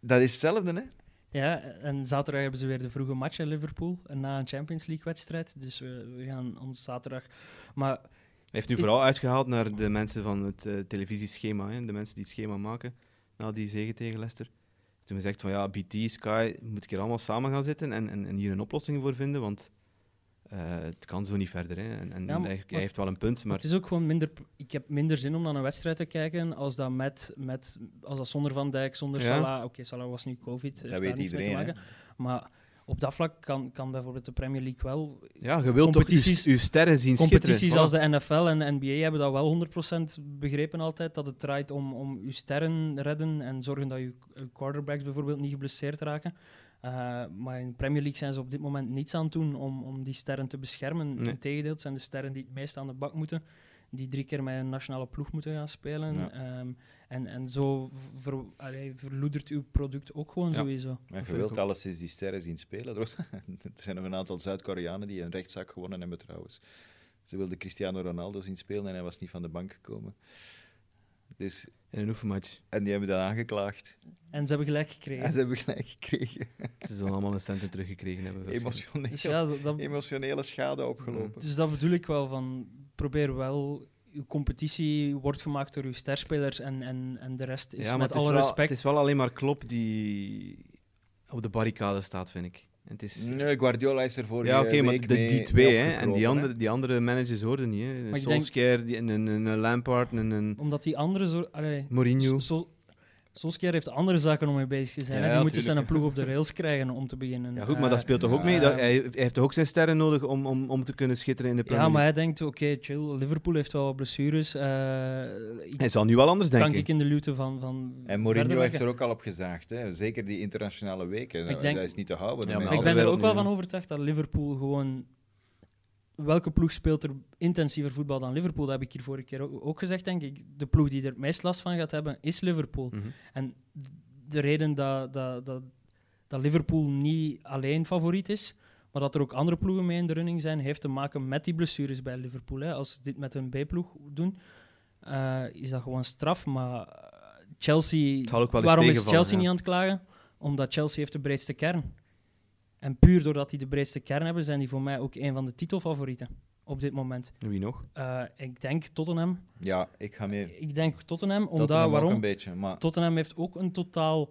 S3: Dat is hetzelfde, hè?
S4: Ja, en zaterdag hebben ze weer de vroege match in Liverpool. En na een Champions League-wedstrijd. Dus we, we gaan ons zaterdag. Maar
S5: Hij heeft nu vooral uitgehaald naar de mensen van het eh, televisieschema, hè, de mensen die het schema maken, na die zege tegen Leicester. Toen gezegd van ja, BT, Sky, moet ik hier allemaal samen gaan zitten en, en, en hier een oplossing voor vinden, want eh, het kan zo niet verder. Hè. En, en
S4: Ja, maar-
S5: hij, hij heeft wel een punt, maar
S4: het is ook gewoon minder. Ik heb minder zin om naar een wedstrijd te kijken. Als dat, met, met, als dat zonder Van Dijk, zonder
S5: Ja.
S4: Salah. Oké, Salah was nu COVID. heeft
S3: Dat
S4: daar
S3: weet
S4: niets mee te
S3: iedereen, hè?
S4: maken. Maar op dat vlak kan, kan bijvoorbeeld de Premier League wel.
S5: ja, je wilt toch
S4: competities-
S5: uw, uw sterren zien
S4: Competities
S5: schitteren.
S4: als de NFL en de NBA hebben dat wel 100% begrepen altijd. Dat het draait om, om uw sterren redden en zorgen dat je quarterbacks bijvoorbeeld niet geblesseerd raken. Eh, maar in de Premier League zijn ze op dit moment niets aan het doen om, om die sterren te beschermen.
S5: Nee.
S4: Integendeel, het zijn de sterren die het meest aan de bak moeten. Die drie keer met een nationale ploeg moeten gaan spelen.
S3: Ja.
S4: Ehm, en, en zo ver, allee, verloedert uw product ook gewoon
S5: Ja.
S4: sowieso.
S3: Ja, je
S5: vind ik
S3: wilt
S5: ook.
S3: alleszins die sterren zien spelen. Er was- er zijn nog een aantal Zuid-Koreanen die een rechtszaak gewonnen hebben trouwens. Ze wilden Cristiano Ronaldo zien spelen en hij was niet van de bank gekomen. Dus,
S5: In een oefenmatch.
S3: en die hebben dat aangeklaagd.
S4: En ze hebben gelijk
S3: En
S4: gekregen.
S3: ze hebben gelijk gekregen.
S5: Ze zullen allemaal een centen teruggekregen hebben. waarschijnlijk.
S4: Dus
S3: Emotionele,
S4: ja, dat, dat-
S3: emotionele schade opgelopen.
S4: Dus dat bedoel ik wel van probeer wel. Uw competitie wordt gemaakt door uw sterspelers en, en, en de rest is
S5: ja, maar
S4: met
S5: het is,
S4: alle
S5: wel,
S4: respect.
S5: het is wel alleen maar Klopp die op de barricade staat, vind ik. En het is,
S3: Mm. Nee, Guardiola is er vorige
S5: Ja, oké, maar
S3: week
S5: de,
S3: mee-
S5: die
S3: mee
S5: twee, hè. En
S3: opgekropen,
S5: die
S3: hè.
S5: andere, die andere managers hoorden niet, hè. Een
S4: ik denk-
S5: Solskjaer, die, een, een, een Lampard, een, een
S4: Omdat die andere zo. Allee,
S5: Mourinho.
S4: Sol- Solskjaer heeft andere zaken om mee bezig te zijn.
S5: Ja,
S4: hè. die
S5: ja,
S4: moeten zijn
S5: tuurlijk.
S4: een ploeg op de rails krijgen om te beginnen.
S5: Ja, goed,
S4: Eh,
S5: maar dat speelt toch ook
S3: ja.
S5: mee? Dat, hij, hij heeft toch ook zijn sterren nodig om, om, om te kunnen schitteren in de Premier
S4: Ja, maar
S5: League?
S4: hij denkt, oké, chill, Liverpool heeft wel wat blessures. eh, ik-
S5: Hij zal nu wel anders
S4: kan
S5: denken.
S4: ik in de luwte van, van
S3: En Mourinho
S4: verder
S3: heeft
S4: werken.
S3: er ook al op gezaagd. Hè. Zeker die internationale weken.
S4: Ik
S3: Dat,
S4: denk-
S3: dat is niet te houden.
S5: Ja, maar
S3: Mensen-
S4: Ik
S5: Alle
S4: ben er
S5: wereld
S4: ook wel
S5: nu,
S4: van
S5: hè.
S4: overtuigd dat Liverpool gewoon. Welke ploeg speelt er intensiever voetbal dan Liverpool? Dat heb ik hier vorige keer ook, ook gezegd, denk ik. De ploeg die er het meest last van gaat hebben, is Liverpool.
S5: Mhm.
S4: En d- de reden dat, dat, dat, dat Liverpool niet alleen favoriet is, maar dat er ook andere ploegen mee in de running zijn, heeft te maken met die blessures bij Liverpool. Hè. Als ze dit met hun B-ploeg doen, eh, is dat gewoon straf. Maar eh, Chelsea,
S5: Het zal ook wel eens
S4: waarom is
S5: tegenvallen,
S4: Chelsea
S5: ja.
S4: niet aan het klagen? Omdat Chelsea heeft de breedste kern. En puur doordat die de breedste kern hebben, zijn die voor mij ook een van de titelfavorieten op dit moment.
S5: Wie nog?
S4: Eh, ik denk Tottenham.
S3: Ja, ik ga mee.
S4: Ik denk Tottenham, omdat
S3: Tottenham ook
S4: waarom?
S3: een beetje. Maar
S4: Tottenham heeft ook een totaal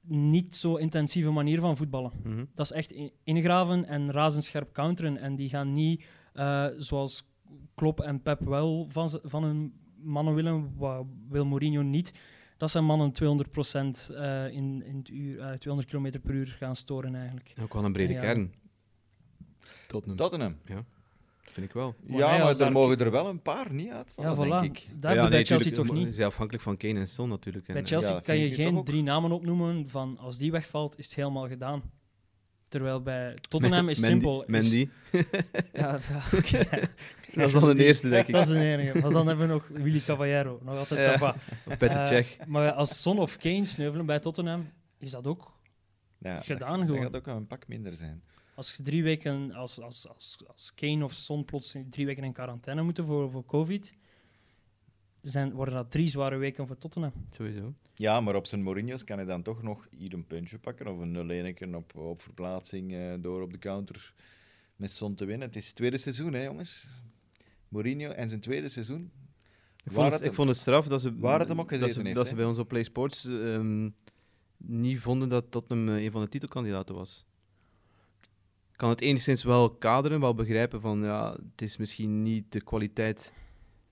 S4: niet zo intensieve manier van voetballen.
S5: Mhm.
S4: Dat is echt in- ingraven en razendscherp counteren. En die gaan niet, eh, zoals Klopp en Pep wel van, z- van hun mannen willen, wat wil Mourinho niet. Dat zijn mannen 200% eh, in, in het uur, eh, 200 km per uur gaan storen eigenlijk.
S5: Ook wel een brede
S4: Ja.
S5: kern. Tottenham, dat
S3: Tottenham.
S5: vind ik wel.
S4: Maar
S3: ja,
S4: nee,
S3: maar
S4: als
S3: er
S4: daar-
S3: mogen er wel een paar niet uitvallen,
S4: ja, voilà.
S3: Oh, denk ik.
S4: Daar hebben bij Chelsea toch niet.
S5: Ze zijn afhankelijk van Kane en Son natuurlijk. En,
S4: Bij
S5: eh,
S4: Chelsea
S3: dat
S4: kan
S3: vind
S4: je
S3: ik toch
S4: geen
S3: ook.
S4: drie namen opnoemen van als die wegvalt, is het helemaal gedaan. Terwijl bij Tottenham is het
S5: eh, Mendy-
S4: simpel. is-
S5: Mendy,
S4: Ja, ja, oké.
S5: dat is dan een eerste, denk ik.
S4: dat is een enige. Maar dan hebben we nog Willy Caballero. Nog altijd
S5: Ja.
S4: Saba.
S5: Of Peter
S4: Eh,
S5: Cech.
S4: Maar als Son of Kane sneuvelen bij Tottenham, is dat ook.
S3: Ja, dat-
S4: Gedaan
S3: dat,
S4: gewoon.
S3: gaat ook wel een pak minder zijn.
S4: Als je drie weken, als, als, als, als Kane of Son plots in drie weken in quarantaine moeten voor, voor COVID, zijn, worden dat drie zware weken voor Tottenham.
S5: Sowieso.
S3: Ja, maar op zijn Mourinho's kan hij dan toch nog hier een puntje pakken of een 0-1 op, op verplaatsing eh, door op de counter met Son te winnen. Het is het tweede seizoen, hè, jongens. Mourinho en zijn tweede seizoen.
S5: Ik
S3: Waar
S5: vond,
S3: het
S5: het, ik
S3: hem-
S5: vond het straf dat ze,
S3: waar het hem ook
S5: dat
S3: gezeten
S5: ze,
S3: heeft,
S5: dat
S3: hè?
S5: ze bij ons op Play Sports ehm, niet vonden dat Tottenham eh, een van de titelkandidaten was. Ik kan het enigszins wel kaderen, wel begrijpen van ja, het is misschien niet de kwaliteit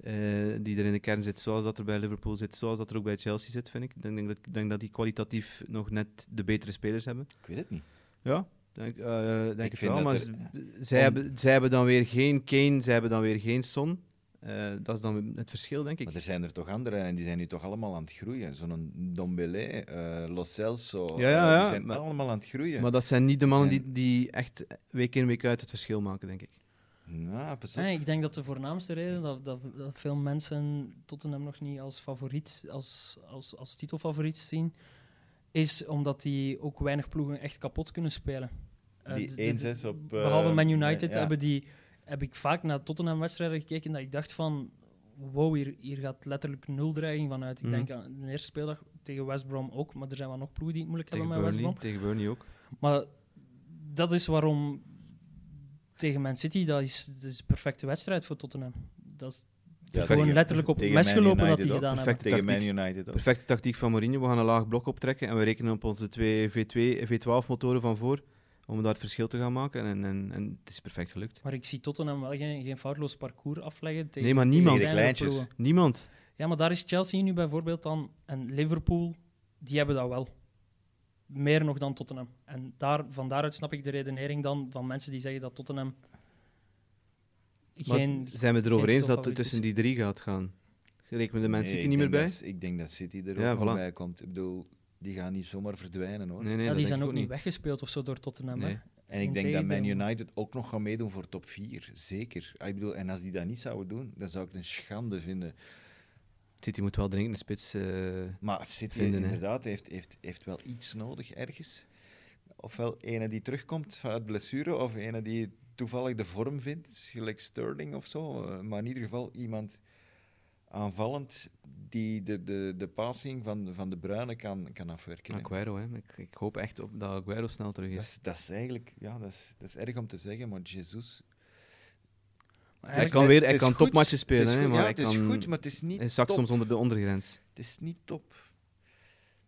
S5: eh, die er in de kern zit, zoals dat er bij Liverpool zit, zoals dat er ook bij Chelsea zit, vind ik. Ik denk, denk, dat, ik denk dat die kwalitatief nog net de betere spelers hebben.
S3: Ik weet het niet.
S5: Ja, denk, eh, denk ik,
S3: vind
S5: wel.
S3: dat
S5: Maar
S3: er-
S5: z- zij, hebben, zij hebben dan weer geen Kane, zij hebben dan weer geen Son. Eh, dat is dan het verschil, denk ik.
S3: Maar er zijn er toch anderen en die zijn nu toch allemaal aan het groeien. Zo'n Dombele, eh Lo Celso,
S5: Ja, ja,
S3: eh,
S5: ja,
S3: die zijn
S5: maar-
S3: allemaal aan het groeien.
S5: Maar dat zijn niet de mannen
S3: Zijn-
S5: die, die echt week in, week uit het verschil maken, denk ik.
S3: Nou, pas op.
S4: Nee, ik denk dat de voornaamste reden dat, dat, dat veel mensen Tottenham nog niet als favoriet, als, als, als titelfavoriet zien, is omdat die ook weinig ploegen echt kapot kunnen spelen. Eh,
S3: Die
S4: d- d-
S3: 1-6 op, eh,
S4: behalve Man United
S3: ja.
S4: hebben die, heb ik vaak naar Tottenham-wedstrijden gekeken dat ik dacht van, wow, hier, hier gaat letterlijk nul dreiging vanuit. Ik
S5: Mhm.
S4: denk aan de eerste speeldag tegen West Brom ook, maar er zijn wel nog ploegen die het moeilijk
S5: Tegen
S4: hebben met West
S5: Burnley,
S4: Brom.
S5: tegen Burnley ook.
S4: Maar dat is waarom tegen Man City, dat is, dat is de perfecte wedstrijd voor Tottenham. Dat is
S3: Ja,
S4: gewoon
S3: tegen-
S4: letterlijk op het
S3: tegen
S4: mes
S3: Man
S4: gelopen dat
S3: United
S4: die
S3: ook.
S4: gedaan
S5: Perfect.
S4: hebben.
S3: Tegen Man
S5: Tactiek.
S3: United ook.
S5: Perfecte tactiek van Mourinho. We gaan een laag blok optrekken en we rekenen op onze twee V2, V12-motoren van voor om daar het verschil te gaan maken. En, en, en het is perfect gelukt.
S4: Maar ik zie Tottenham wel geen, geen foutloos parcours afleggen. Tegen,
S5: Nee, maar
S4: tegen
S5: niemand.
S4: kleinere
S3: Tegen de kleintjes.
S4: ploegen.
S5: Niemand.
S4: Ja, maar daar is Chelsea nu bijvoorbeeld dan. En Liverpool, die hebben dat wel. Meer nog dan Tottenham. En daar, van daaruit snap ik de redenering dan van mensen die zeggen dat Tottenham
S5: Maar
S4: geen...
S5: zijn we erover
S4: geen
S5: eens dat
S4: topfavoriet
S5: het
S4: is.
S5: tussen die drie gaat gaan? Rekenen we de Man
S3: Nee,
S5: City
S3: ik
S5: niet meer
S3: denk
S5: bij?
S3: dat- ik denk dat City er ook
S5: Ja,
S3: nog
S5: voilà.
S3: bij komt. Ik bedoel, die gaan niet zomaar verdwijnen hoor.
S5: nee,
S4: ja,
S5: dat
S4: die
S5: denk
S4: zijn
S5: ik
S4: ook niet weggespeeld of zo door Tottenham.
S5: Nee.
S4: hè.
S3: En ik denk dat Man
S4: Integendeel.
S3: United ook nog gaat meedoen voor top 4. Zeker. Ah, Ik bedoel, en als die dat niet zouden doen, dan zou ik het een schande vinden.
S5: City moet wel dringend een spits. eh,
S3: Maar City
S5: Vinden, hè.
S3: inderdaad heeft, heeft, heeft wel iets nodig ergens. Ofwel ene die terugkomt uit blessure, of ene die toevallig de vorm vindt, gelijk Sterling of zo. Eh, Maar in ieder geval iemand aanvallend die de, de, de passing van, van de Bruine kan, kan afwerken. hè.
S5: Aguero, hè. Ik, ik hoop echt op dat Aguero snel terug
S3: Dat
S5: is.
S3: is, dat is eigenlijk, ja, dat is, dat is erg om te zeggen, maar Jesus.
S4: Maar
S5: Hij
S4: eigenlijk-
S5: kan weer,
S3: Het
S5: hij
S3: is
S5: kan
S3: goed,
S5: topmatchen
S3: het is
S5: spelen, hè,
S3: goed,
S5: maar
S3: ja,
S5: hij
S3: het is
S5: kan-
S3: goed, maar het is niet
S5: Hij zakt
S3: top.
S5: soms onder de ondergrens.
S3: Het is niet top.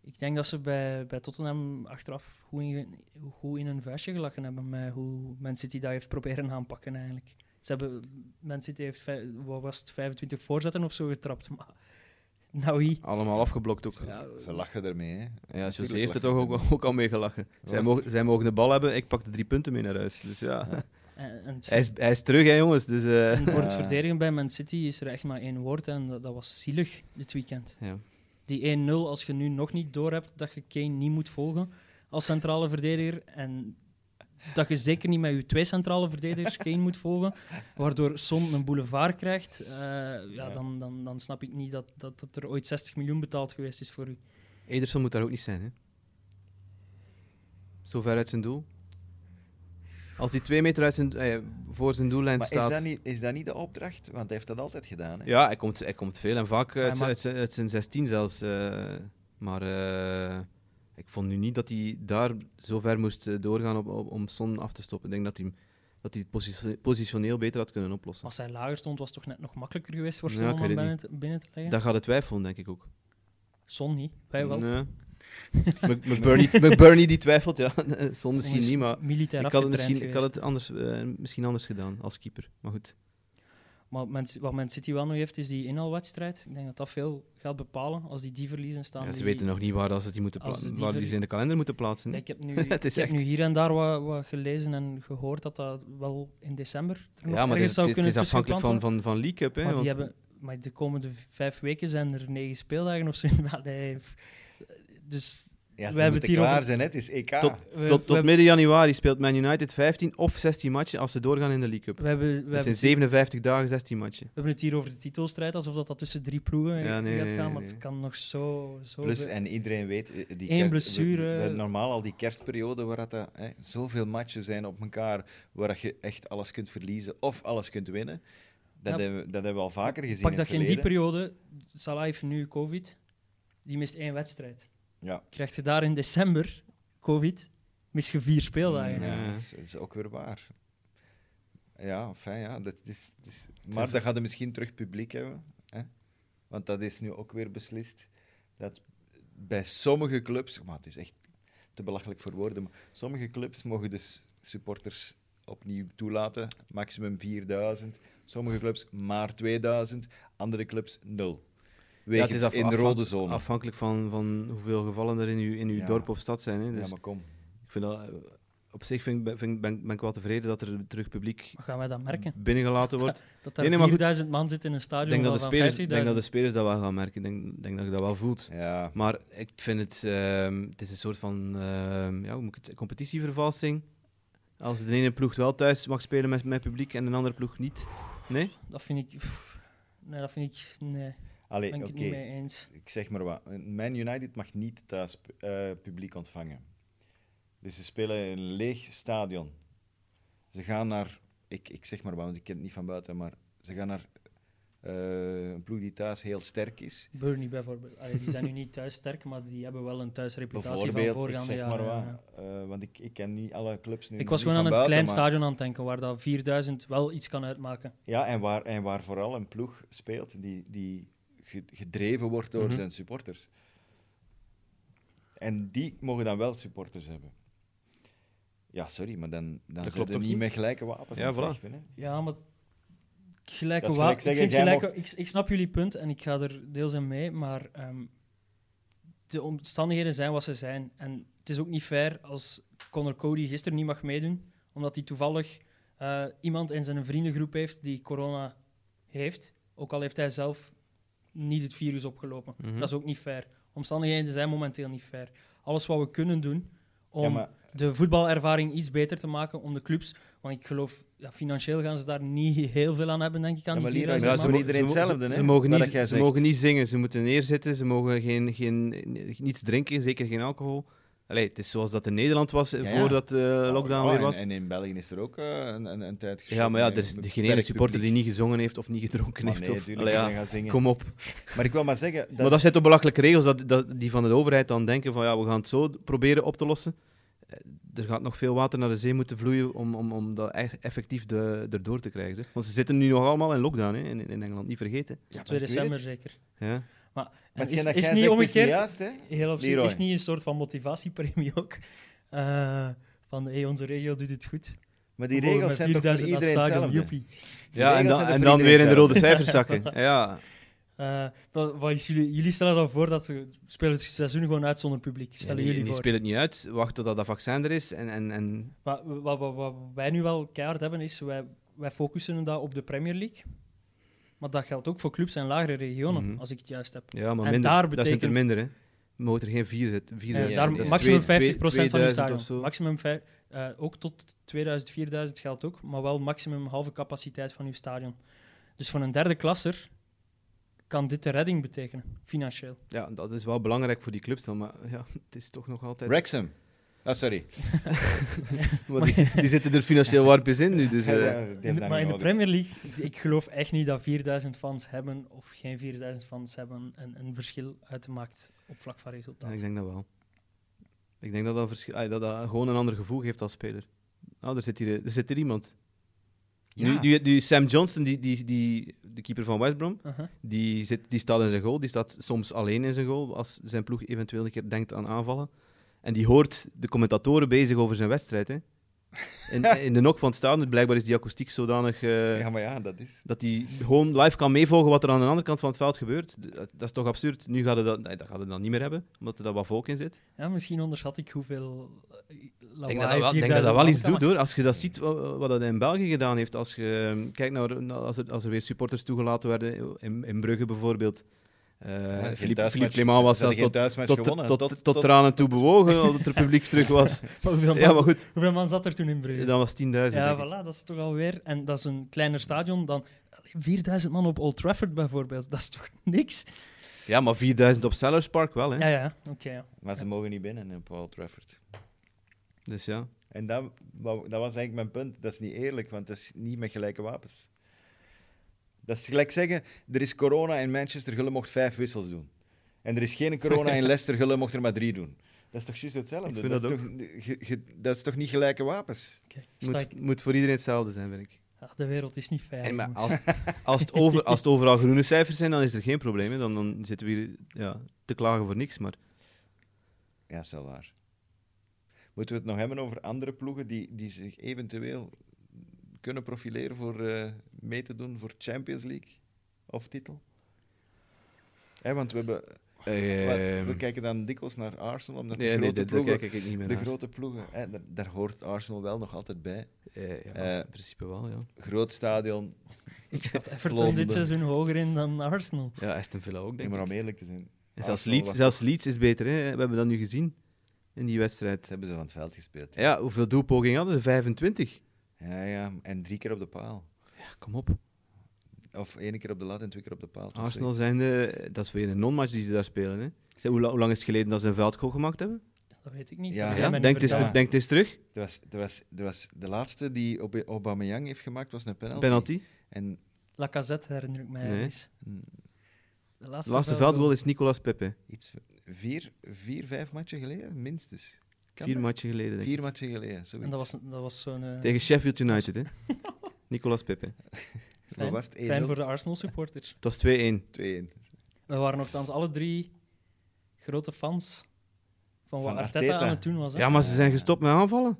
S4: Ik denk dat ze bij, bij Tottenham achteraf goed in, goed in hun vuistje gelachen hebben met hoe Man City dat heeft proberen aanpakken eigenlijk. Ze hebben, Man City heeft, vij- wat was het, 25 voorzetten of zo getrapt, maar nou hier.
S5: Allemaal afgeblokt ook. Ja,
S3: Ja, ze lachen ermee, hè.
S5: José
S3: natuurlijk
S5: heeft er
S3: lachen
S5: toch
S3: ze
S5: ook, ook al mee gelachen. Zij
S3: het?
S5: mogen, zij mogen de bal hebben, ik pak de drie punten mee naar huis. Dus ja,
S4: En, en het-
S5: hij, is, hij is terug, hè, jongens. Dus, eh,
S4: en voor het
S3: Ja.
S4: verdedigen bij Man City is er echt maar één woord en dat, dat was zielig dit weekend.
S5: ja.
S4: Die 1-0, als je nu nog niet doorhebt dat je Kane niet moet volgen als centrale verdediger en dat je zeker niet met je twee centrale verdedigers Kane moet volgen, waardoor Son een boulevard krijgt, eh, ja,
S3: Ja.
S4: dan, dan, dan snap ik niet dat, dat, dat er ooit 60 miljoen betaald geweest is voor u.
S5: Ederson moet daar ook niet zijn, hè. Zo ver uit zijn doel. Als hij twee meter uit zijn, eh, voor zijn doellijn
S3: Maar
S5: staat...
S3: is dat, niet, is dat niet de opdracht? Want hij heeft dat altijd gedaan, hè.
S5: Ja, hij komt, hij komt veel en vaak uit,
S4: Hij
S5: zijn- uit, zijn- uit zijn 16 zelfs. eh, maar eh, ik vond nu niet dat hij daar zo ver moest eh, doorgaan op, op- om Son af te stoppen. Ik denk dat hij, hem- dat hij het posi- positioneel beter had kunnen oplossen.
S4: Als hij lager stond, was het toch net nog makkelijker geweest voor
S5: Ja,
S4: Son
S5: ik
S4: om
S5: weet
S4: hem
S5: het
S4: binnen, te- binnen te leggen?
S5: Daar gaat het twijfelen, denk ik ook.
S4: Son niet, wij wel.
S5: Nee. Mc- McBurney, McBurney die twijfelt, ja. Son
S4: Son
S5: misschien
S4: is
S5: niet, maar
S4: Militair
S5: ik had het,
S4: afgetraind
S5: misschien, ik had
S4: geweest.
S5: het anders, eh, misschien anders gedaan als keeper. Maar goed.
S4: Maar Man- wat Man City wel nog heeft, is die inhaalwedstrijd. Ik denk dat dat veel gaat bepalen. Als die die verliezen, staan
S5: Ja, ze
S4: die-
S5: weten nog niet waar, dat ze, die moeten pla-
S4: als ze die
S5: waar die
S4: ver-
S5: ze in de kalender moeten plaatsen.
S4: Ja,
S5: hè.
S4: ik heb nu,
S5: Hm? Het is
S4: ik heb
S5: echt-
S4: nu hier en daar wat, wat gelezen en gehoord dat dat wel in december er nog
S5: Ja, maar het
S4: ergens
S5: is,
S4: zou
S5: het is-
S4: kunnen
S5: het is afhankelijk van,
S4: tussen
S5: van, van League Cup. Hè,
S4: gepland worden. Maar, die
S5: want-
S4: hebben, maar de komende vijf weken zijn er negen speeldagen of zo. Maar nee, f- dus
S3: Ja, ze
S4: hebben het
S3: moeten
S4: hier
S3: klaar
S4: over-
S3: zijn, hè. Het is E EK.
S5: Tot-
S4: we,
S5: Tot,
S4: we,
S5: tot midden januari speelt Man United 15 of 16 matchen als ze doorgaan dus in de League Cup.
S4: we hebben, we,
S5: Dat
S4: hebben,
S5: zijn
S4: het hier-
S5: 57 dagen 16 matchen.
S4: we hebben het hier over de titelstrijd, alsof dat, dat tussen drie ploegen
S5: Ja, nee,
S4: gaat
S5: nee,
S4: gaan.
S5: nee,
S4: Maar het
S5: nee.
S4: kan nog zo... zo
S3: Plus,
S4: veel-
S3: en iedereen weet, eh, die
S4: Eén
S3: kerst-
S4: blessure.
S3: we- we- we- normaal al die kerstperiode waar dat, eh, hè, zoveel matchen zijn op elkaar, waar dat je echt alles kunt verliezen of alles kunt winnen. Dat,
S4: Ja.
S3: hebben, we- dat hebben we al vaker gezien.
S4: Pak
S3: in
S4: dat
S3: het
S4: je in die
S3: verleden.
S4: periode... Salah heeft nu covid. Die mist één wedstrijd.
S3: Ja.
S4: Krijgt je daar in december covid, mis je vier speeldagen.
S3: Ja,
S5: Ja.
S3: dat is, dat is ook weer waar. Ja, fijn, ja. Dat is, dat is- maar dat gaat er misschien terug publiek hebben. Hè? Want dat is nu ook weer beslist. Dat bij sommige clubs, maar het is echt te belachelijk voor woorden, maar sommige clubs mogen dus supporters opnieuw toelaten. Maximum 4000. Sommige clubs maar 2000, andere clubs 0. Wegens
S5: het is af-
S3: in
S5: afhan-
S3: rode zone.
S5: Afhankelijk van, van hoeveel gevallen er in uw, in uw
S3: Ja.
S5: dorp of stad zijn. Hè. Dus
S3: Ja, maar kom.
S5: ik vind dat, eh, op zich vind, ik- vind, ik- ben, ben ik wel tevreden dat er terug publiek
S4: Maar gaan wij dat merken?
S5: binnengelaten Mm. wordt.
S4: Dat daar
S5: Nee, nee, maar goed.
S4: 4000 man zitten in een
S5: Ik
S4: stadion
S5: denk dat, de
S4: van
S5: spelers,
S4: 50.000.
S5: denk dat de spelers dat wel gaan merken. Ik denk, denk dat je dat wel voelt.
S3: Ja.
S5: Maar ik vind het, ehm, het is een soort van ehm, ja, hoe moet ik het, competitievervalsing. Als de ene ploeg wel thuis mag spelen met, met publiek en de andere ploeg niet. Nee?
S4: Dat vind ik... pff, nee, dat vind ik... Nee,
S3: Allee,
S4: ben ik
S3: oké.
S4: het niet mee eens.
S3: ik zeg maar wat. Man United mag niet thuis eh, publiek ontvangen. Dus ze spelen in een leeg stadion. Ze gaan naar, ik, ik zeg maar wat, want ik ken het niet van buiten, maar ze gaan naar eh, een ploeg die thuis heel sterk is.
S4: Burnley bijvoorbeeld. Allee, die zijn nu niet thuis sterk, maar die hebben wel een thuisreputatie van
S3: Bijvoorbeeld, ik
S4: voorgaande
S3: zeg maar
S4: jaren.
S3: wat,
S4: ja.
S3: eh, want ik, ik ken niet alle clubs nu.
S4: Ik was
S3: niet
S4: gewoon aan
S3: van
S4: het klein
S3: buiten, maar-
S4: stadion aan het denken, waar dat 4000 wel iets kan uitmaken.
S3: Ja, en waar, en waar vooral een ploeg speelt die, die ge- gedreven wordt door
S5: Mhm.
S3: zijn supporters. En die mogen dan wel supporters hebben. Ja, sorry, maar dan, dan
S5: klopt
S3: zijn er
S5: toch
S3: niet
S5: niet?
S3: met gelijke wapens
S5: Ja,
S3: aan het
S5: voilà.
S3: vechten, hè.
S4: Ja, maar gelijke
S3: Dat is
S4: wa-
S3: gelijk zeggen,
S4: ik, vind
S3: jij
S4: gelijke, ik, ik snap jullie punt en ik ga er deels in mee, maar ehm, de omstandigheden zijn wat ze zijn. En het is ook niet fair als Connor Cody gisteren niet mag meedoen, omdat hij toevallig eh, iemand in zijn vriendengroep heeft die corona heeft, ook al heeft hij zelf niet het virus opgelopen.
S5: Mhm.
S4: Dat is ook niet fair. Omstandigheden zijn momenteel niet fair. Alles wat we kunnen doen om
S3: Ja, maar
S4: de voetbalervaring iets beter te maken om de clubs. Want ik geloof, ja, financieel gaan ze daar niet heel veel aan hebben, denk ik. Aan
S3: Ja, maar
S4: die
S3: Lira,
S4: 4000
S3: ja, ze
S4: man.
S3: moet- iedereen
S5: mo-
S3: hetzelfde,
S5: ze
S3: hè,
S5: mogen,
S3: wat
S5: niet,
S3: jij
S5: ze
S3: zegt.
S5: mogen niet zingen, ze moeten neerzitten, ze mogen geen, geen, niets drinken, zeker geen alcohol. Allee, het is zoals dat in Nederland was eh,
S3: Ja, ja.
S5: voordat de lockdown
S3: oh,
S5: weer
S3: en-
S5: was.
S3: En, in België is er ook eh, een, een, een tijd
S5: ja, maar ja, er is
S3: geschoten met
S5: geen ene
S3: beperkt
S5: supporter die
S3: publiek.
S5: niet gezongen heeft of niet gedronken
S3: Maar
S5: heeft.
S3: Ah, nee,
S5: of,
S3: tuurlijk,
S5: Allee, ja,
S3: dan gaan zingen.
S5: kom op.
S3: Maar ik wil maar zeggen... Dat
S5: Maar dat zijn toch belachelijke regels dat, dat, die van de overheid dan denken van ja, we gaan het zo d- proberen op te lossen. Eh, Er gaat nog veel water naar de zee moeten vloeien om, om, om dat echt effectief de, erdoor te krijgen. zeg. Want ze zitten nu nog allemaal in lockdown hè, in, in Engeland, niet vergeten.
S3: Ja, maar
S4: 2
S3: ik weet
S4: december
S3: het.
S4: zeker.
S5: Ja.
S3: Maar
S4: En is,
S3: hetgeen dat
S4: is
S3: jij
S4: niet
S3: zegt Is
S4: omgekeerd.
S3: juist, hè?
S4: Heel op zich,
S3: Leroy.
S4: is niet een soort van motivatiepremie ook. Eh, van hey, onze regio doet het goed.
S3: Maar die
S4: We mogen
S3: regels
S4: met
S3: zijn toch voor
S4: 4000 aan het
S3: iedereen
S4: stadion,
S3: hetzelfde?
S4: joepie.
S3: De
S5: Ja, en
S3: regels
S5: dan,
S3: zijn er
S5: en
S3: voor
S5: dan weer in
S3: iedereen
S5: de rode
S4: hetzelfde.
S5: cijfers zakken. Ja.
S4: Eh, wat, wat is jullie, jullie stellen dan voor dat we spelen het seizoen gewoon uit zonder publiek. Stellen
S5: die,
S4: jullie
S5: die
S4: voor.
S5: spelen het niet uit, wachten totdat dat vaccin er is. En, en, en
S4: Maar wa- wa- wa- wat, wij nu wel keihard hebben, is wij, wij focussen dat op de Premier League. Maar dat geldt ook voor clubs en lagere regionen,
S5: Mhm.
S4: als ik het juist heb.
S5: ja, maar
S4: En
S5: minder.
S4: daar
S5: Dat zijn er
S4: betekent-
S5: minder, hè. We mogen er geen vier zetten. Vier
S4: Ja,
S5: zetten.
S4: Eh, daar
S5: Dat is
S4: maximum 50%
S5: twee-
S4: van je
S5: 2000 of
S4: stadion.
S5: zo.
S4: Maximum vij- eh, ook tot 2000, 4000 geldt ook, maar wel maximum halve capaciteit van je stadion. Dus voor een derde klasser kan dit de redding betekenen, financieel.
S5: Ja, dat is wel belangrijk voor die clubs dan. Maar ja, het is toch nog altijd...
S3: Wrexham. Ah, sorry.
S5: Maar die, die zitten er financieel warmpjes in nu. Dus,
S3: Ja,
S5: eh,
S3: ja, die hebben dat
S4: In de-
S3: niet
S4: maar in de
S3: nodig.
S4: Premier League, ik geloof echt niet dat 4000 fans hebben of geen 4000 fans hebben en een verschil uitmaakt op vlak van
S5: ja,
S4: resultaat.
S5: ik denk dat wel. Ik denk dat dat, verschil- ah, dat dat gewoon een ander gevoel geeft als speler. Nou, er zit hier, er zit hier iemand.
S3: Ja.
S5: Nu, nu, nu Sam Johnston, die, die, die, de keeper van West Brom,
S4: Uh-huh.
S5: die, zit, die staat in zijn goal. Die staat soms alleen in zijn goal als zijn ploeg eventueel een keer denkt aan aanvallen. En die hoort de commentatoren bezig over zijn wedstrijd. Hè. In, in de nok van het stadion, dus blijkbaar is die akoestiek zodanig... eh,
S3: Ja, maar ja, dat is...
S5: Dat hij gewoon live kan meevolgen wat er aan de andere kant van het veld gebeurt. D- Dat, dat is toch absurd. Nu gaat het dat, nee, dat, gaat het dan niet meer hebben, omdat er daar wat volk in zit.
S4: Ja, misschien onderschat ik hoeveel eh,
S5: Ik denk dat dat wel, denk dat dat wel iets doet, hoor. Als je dat ziet, wa- wa- wat dat in België gedaan heeft. Als je ehm, kijkt naar naar- als er, als er weer supporters toegelaten werden, in, in Brugge bijvoorbeeld. Eh,
S3: Geen
S5: Philippe,
S3: thuismatch-
S5: Philippe Clément was
S3: ze hadden
S5: zelfs
S3: geen
S5: tot,
S3: thuismatch
S5: tot, tot,
S3: gewonnen.
S5: tot, tranen toe bewogen, omdat er publiek terug was.
S4: hoeveel,
S5: Ja,
S4: man,
S5: maar goed,
S4: hoeveel man zat er toen in Brugge?
S5: dan was het 10.000.
S4: ja,
S5: denk ik.
S4: voilà, dat is toch alweer... En dat is een kleiner stadion dan... Allee, 4000 man op Old Trafford bijvoorbeeld, dat is toch niks?
S5: ja, maar 4.000 op Sellers Park wel, hè.
S4: Ja, ja, oké. ja.
S3: Maar ze mogen niet binnen in Paul Trafford.
S5: Dus ja.
S3: En dat, wou- dat was eigenlijk mijn punt. Dat is niet eerlijk, want dat is niet met gelijke wapens. Dat is gelijk zeggen, er is corona in Manchester, Gulle mocht vijf wissels doen. En er is geen corona in Leicester, Gulle mocht er maar drie doen. Dat is toch juist hetzelfde?
S5: Ik vind
S3: dat,
S5: dat
S3: is toch, ge- ge- dat is toch niet gelijke wapens?
S4: Kijk, sta ik-
S5: Moet, moet voor iedereen hetzelfde zijn, vind ik.
S4: Ah, de wereld is niet veilig.
S5: En maar
S4: jongens.
S5: als, als, het over, als het overal groene cijfers zijn, dan is er geen probleem. Hè. Dan, dan zitten we hier ja, te klagen voor niks. Maar
S3: Ja, dat is wel waar. Moeten we het nog hebben over andere ploegen die, die zich eventueel kunnen profileren voor eh, mee te doen voor Champions League of titel? Hè, want we, hebben,
S5: ehm,
S3: we, we kijken dan dikwijls naar Arsenal, omdat de
S5: nee, nee,
S3: grote
S5: daar- daar
S3: ploegen...
S5: kijk ik niet meer
S3: de
S5: naar.
S3: grote ploegen, hè, daar, daar hoort Arsenal wel nog altijd bij.
S5: Eh, ja,
S3: eh,
S5: in principe wel, ja.
S3: Groot stadion,
S4: Ik schat Everton
S3: Londen.
S4: dit seizoen hoger in dan Arsenal.
S5: Ja, Aston Villa ook,
S3: nee,
S5: denk
S3: maar om
S5: ik.
S3: eerlijk te zijn.
S5: En zelfs
S3: Arsenal
S5: Leeds,
S3: was-
S5: zelfs Leeds is beter, hè. We hebben dat nu gezien in die wedstrijd.
S3: Dat hebben ze van het veld gespeeld.
S5: Ja, hoeveel doelpogingen hadden ze? 25?
S3: Ja, ja, en drie keer op de paal.
S5: Ja, kom op.
S3: Of één keer op de lat en twee keer op de paal. Het was
S5: Arsenal zijn de... Dat is weer een non-match die ze daar spelen, hè. Zeg, Hoe, la- hoe lang is het geleden dat ze een veldgoal gemaakt hebben?
S4: Dat weet ik niet.
S3: Ja,
S4: Dat
S5: Ja,
S4: jij mij niet
S5: Denk, eens,
S4: vertelt.
S3: vertellen.
S5: denk eens terug.
S3: echt- er was, er was, er was de laatste die Ob- Aubameyang heeft gemaakt, was een penalty.
S5: Penalty.
S3: En
S4: Lacazette herinner ik mij
S5: Nee.
S4: eens.
S3: mm,
S4: De
S5: De
S4: laatste,
S5: laatste veldgoal is Nicolas Pepe.
S3: iets, vier, vier, vijf matchen geleden, minstens. Kan
S5: Vier
S3: dat?
S5: matchen geleden, denk ik.
S3: Vier matchen geleden, zoiets.
S4: En dat was, dat was zo'n eh,
S5: Tegen Sheffield United, hè. Nicolas Pepe.
S3: Wat
S4: fijn,
S3: was het? 1-0,
S4: fijn voor de Arsenal supporters.
S5: Het was 2-1.
S3: 2-1.
S4: We waren nogthans alle drie grote fans van wat
S3: Van
S4: Arteta,
S3: Arteta.
S4: aan het doen was. Hè?
S5: Ja, maar ze zijn gestopt met aanvallen.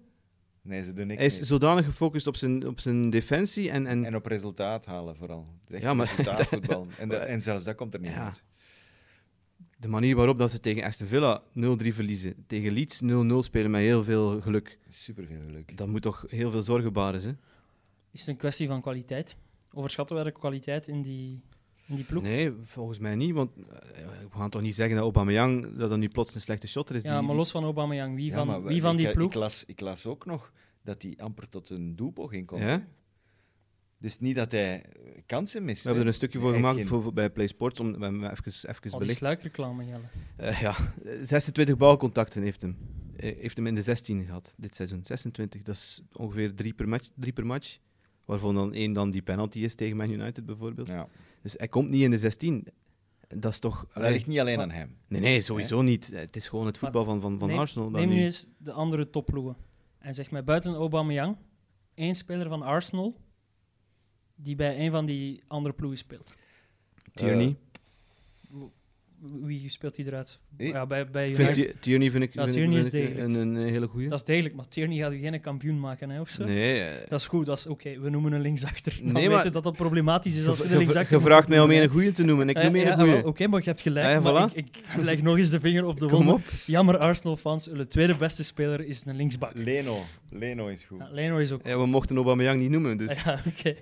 S3: Nee, ze doen niks
S5: Hij is
S3: meer.
S5: zodanig gefocust op zijn, op zijn defensie en, en,
S3: En op resultaat halen vooral. Het is Echt
S5: Ja, maar-
S3: resultaatvoetbal. En, dat- en zelfs dat komt er niet
S5: Ja.
S3: uit.
S5: de manier waarop dat ze tegen Aston Villa 0-3 verliezen. Tegen Leeds 0-0 spelen met heel veel geluk.
S3: Superveel geluk.
S5: Dat moet toch heel veel zorgen baren, hè?
S4: Is het een kwestie van kwaliteit? Overschatten wij de kwaliteit in die, in die ploeg?
S5: Nee, volgens mij niet. Want eh, we gaan toch niet zeggen dat Aubameyang dat dan nu plots een slechte shotter is.
S4: ja,
S5: dus die-
S4: maar los van Aubameyang, wie
S3: Ja,
S4: van,
S3: maar we-
S4: wie van die
S5: eh,
S3: ik,
S4: ploeg?
S3: Ik las, ik las ook nog dat hij amper tot een doelpoging komt.
S5: Ja?
S3: hè. Dus niet dat hij eh, kansen mist.
S5: We hebben er een stukje voor gemaakt
S3: Geen,
S5: voor, voor- bij Play Sports om we hebben hem even, even
S4: Al die
S5: belicht.
S4: sluikreclame, Jelle.
S5: Eh, ja, eh, 26 balcontacten heeft hem. Eh, heeft hem in de 16 gehad dit seizoen. 26, dat is ongeveer drie per match. Drie per match waarvan dan één dan die penalty is tegen Man United bijvoorbeeld.
S3: Ja.
S5: Dus hij komt niet in de 16. Dat is toch.
S3: Maar dat ligt niet alleen
S4: Maar-
S3: aan hem.
S5: Nee, nee, sowieso niet. Eh, Het is gewoon het voetbal van, van, van
S4: neem,
S5: Arsenal. dat
S4: Neem nu
S5: nu-
S4: eens de andere topploegen. En zeg mij, buiten Aubameyang, één speler van Arsenal die bij een van die andere ploegen speelt. eh,
S5: Tierney.
S4: Wie speelt die eruit?
S3: Ik-
S4: Ja, bij, bij
S5: Ik
S4: United.
S5: vind Ti- Tierney vind ik,
S4: Ja,
S5: vind ik-
S4: Tierney is
S5: vind ik een,
S4: degelijk.
S5: een hele goede.
S4: Dat is degelijk, maar Tierney gaat u geen kampioen maken, hè, of zo?
S5: Nee, eh,
S4: Dat is goed, dat is oké. We noemen een linksachter. Dan
S5: Nee,
S4: weten
S5: maar-
S4: we dat dat problematisch is als we
S5: ge-
S4: de
S5: ge-
S4: linksachter...
S5: ge vraagt mij om
S4: moeten
S5: een goede te noemen. Ik
S4: noemen.
S5: noem
S4: Ja,
S5: een
S4: ja, wel, Oké,
S5: goede.
S4: maar je hebt gelijk.
S5: Ah, ja,
S4: maar
S5: voilà.
S4: ik, ik leg nog eens de vinger op de
S5: Kom
S4: wond.
S5: op.
S4: Jammer, Arsenal-fans, de tweede beste speler is een linksbak.
S3: Eh, Leno. Leno is goed.
S4: Ja, Leno is ook
S5: Ja, we mochten Aubameyang niet noemen, dus.
S4: Ja, oké.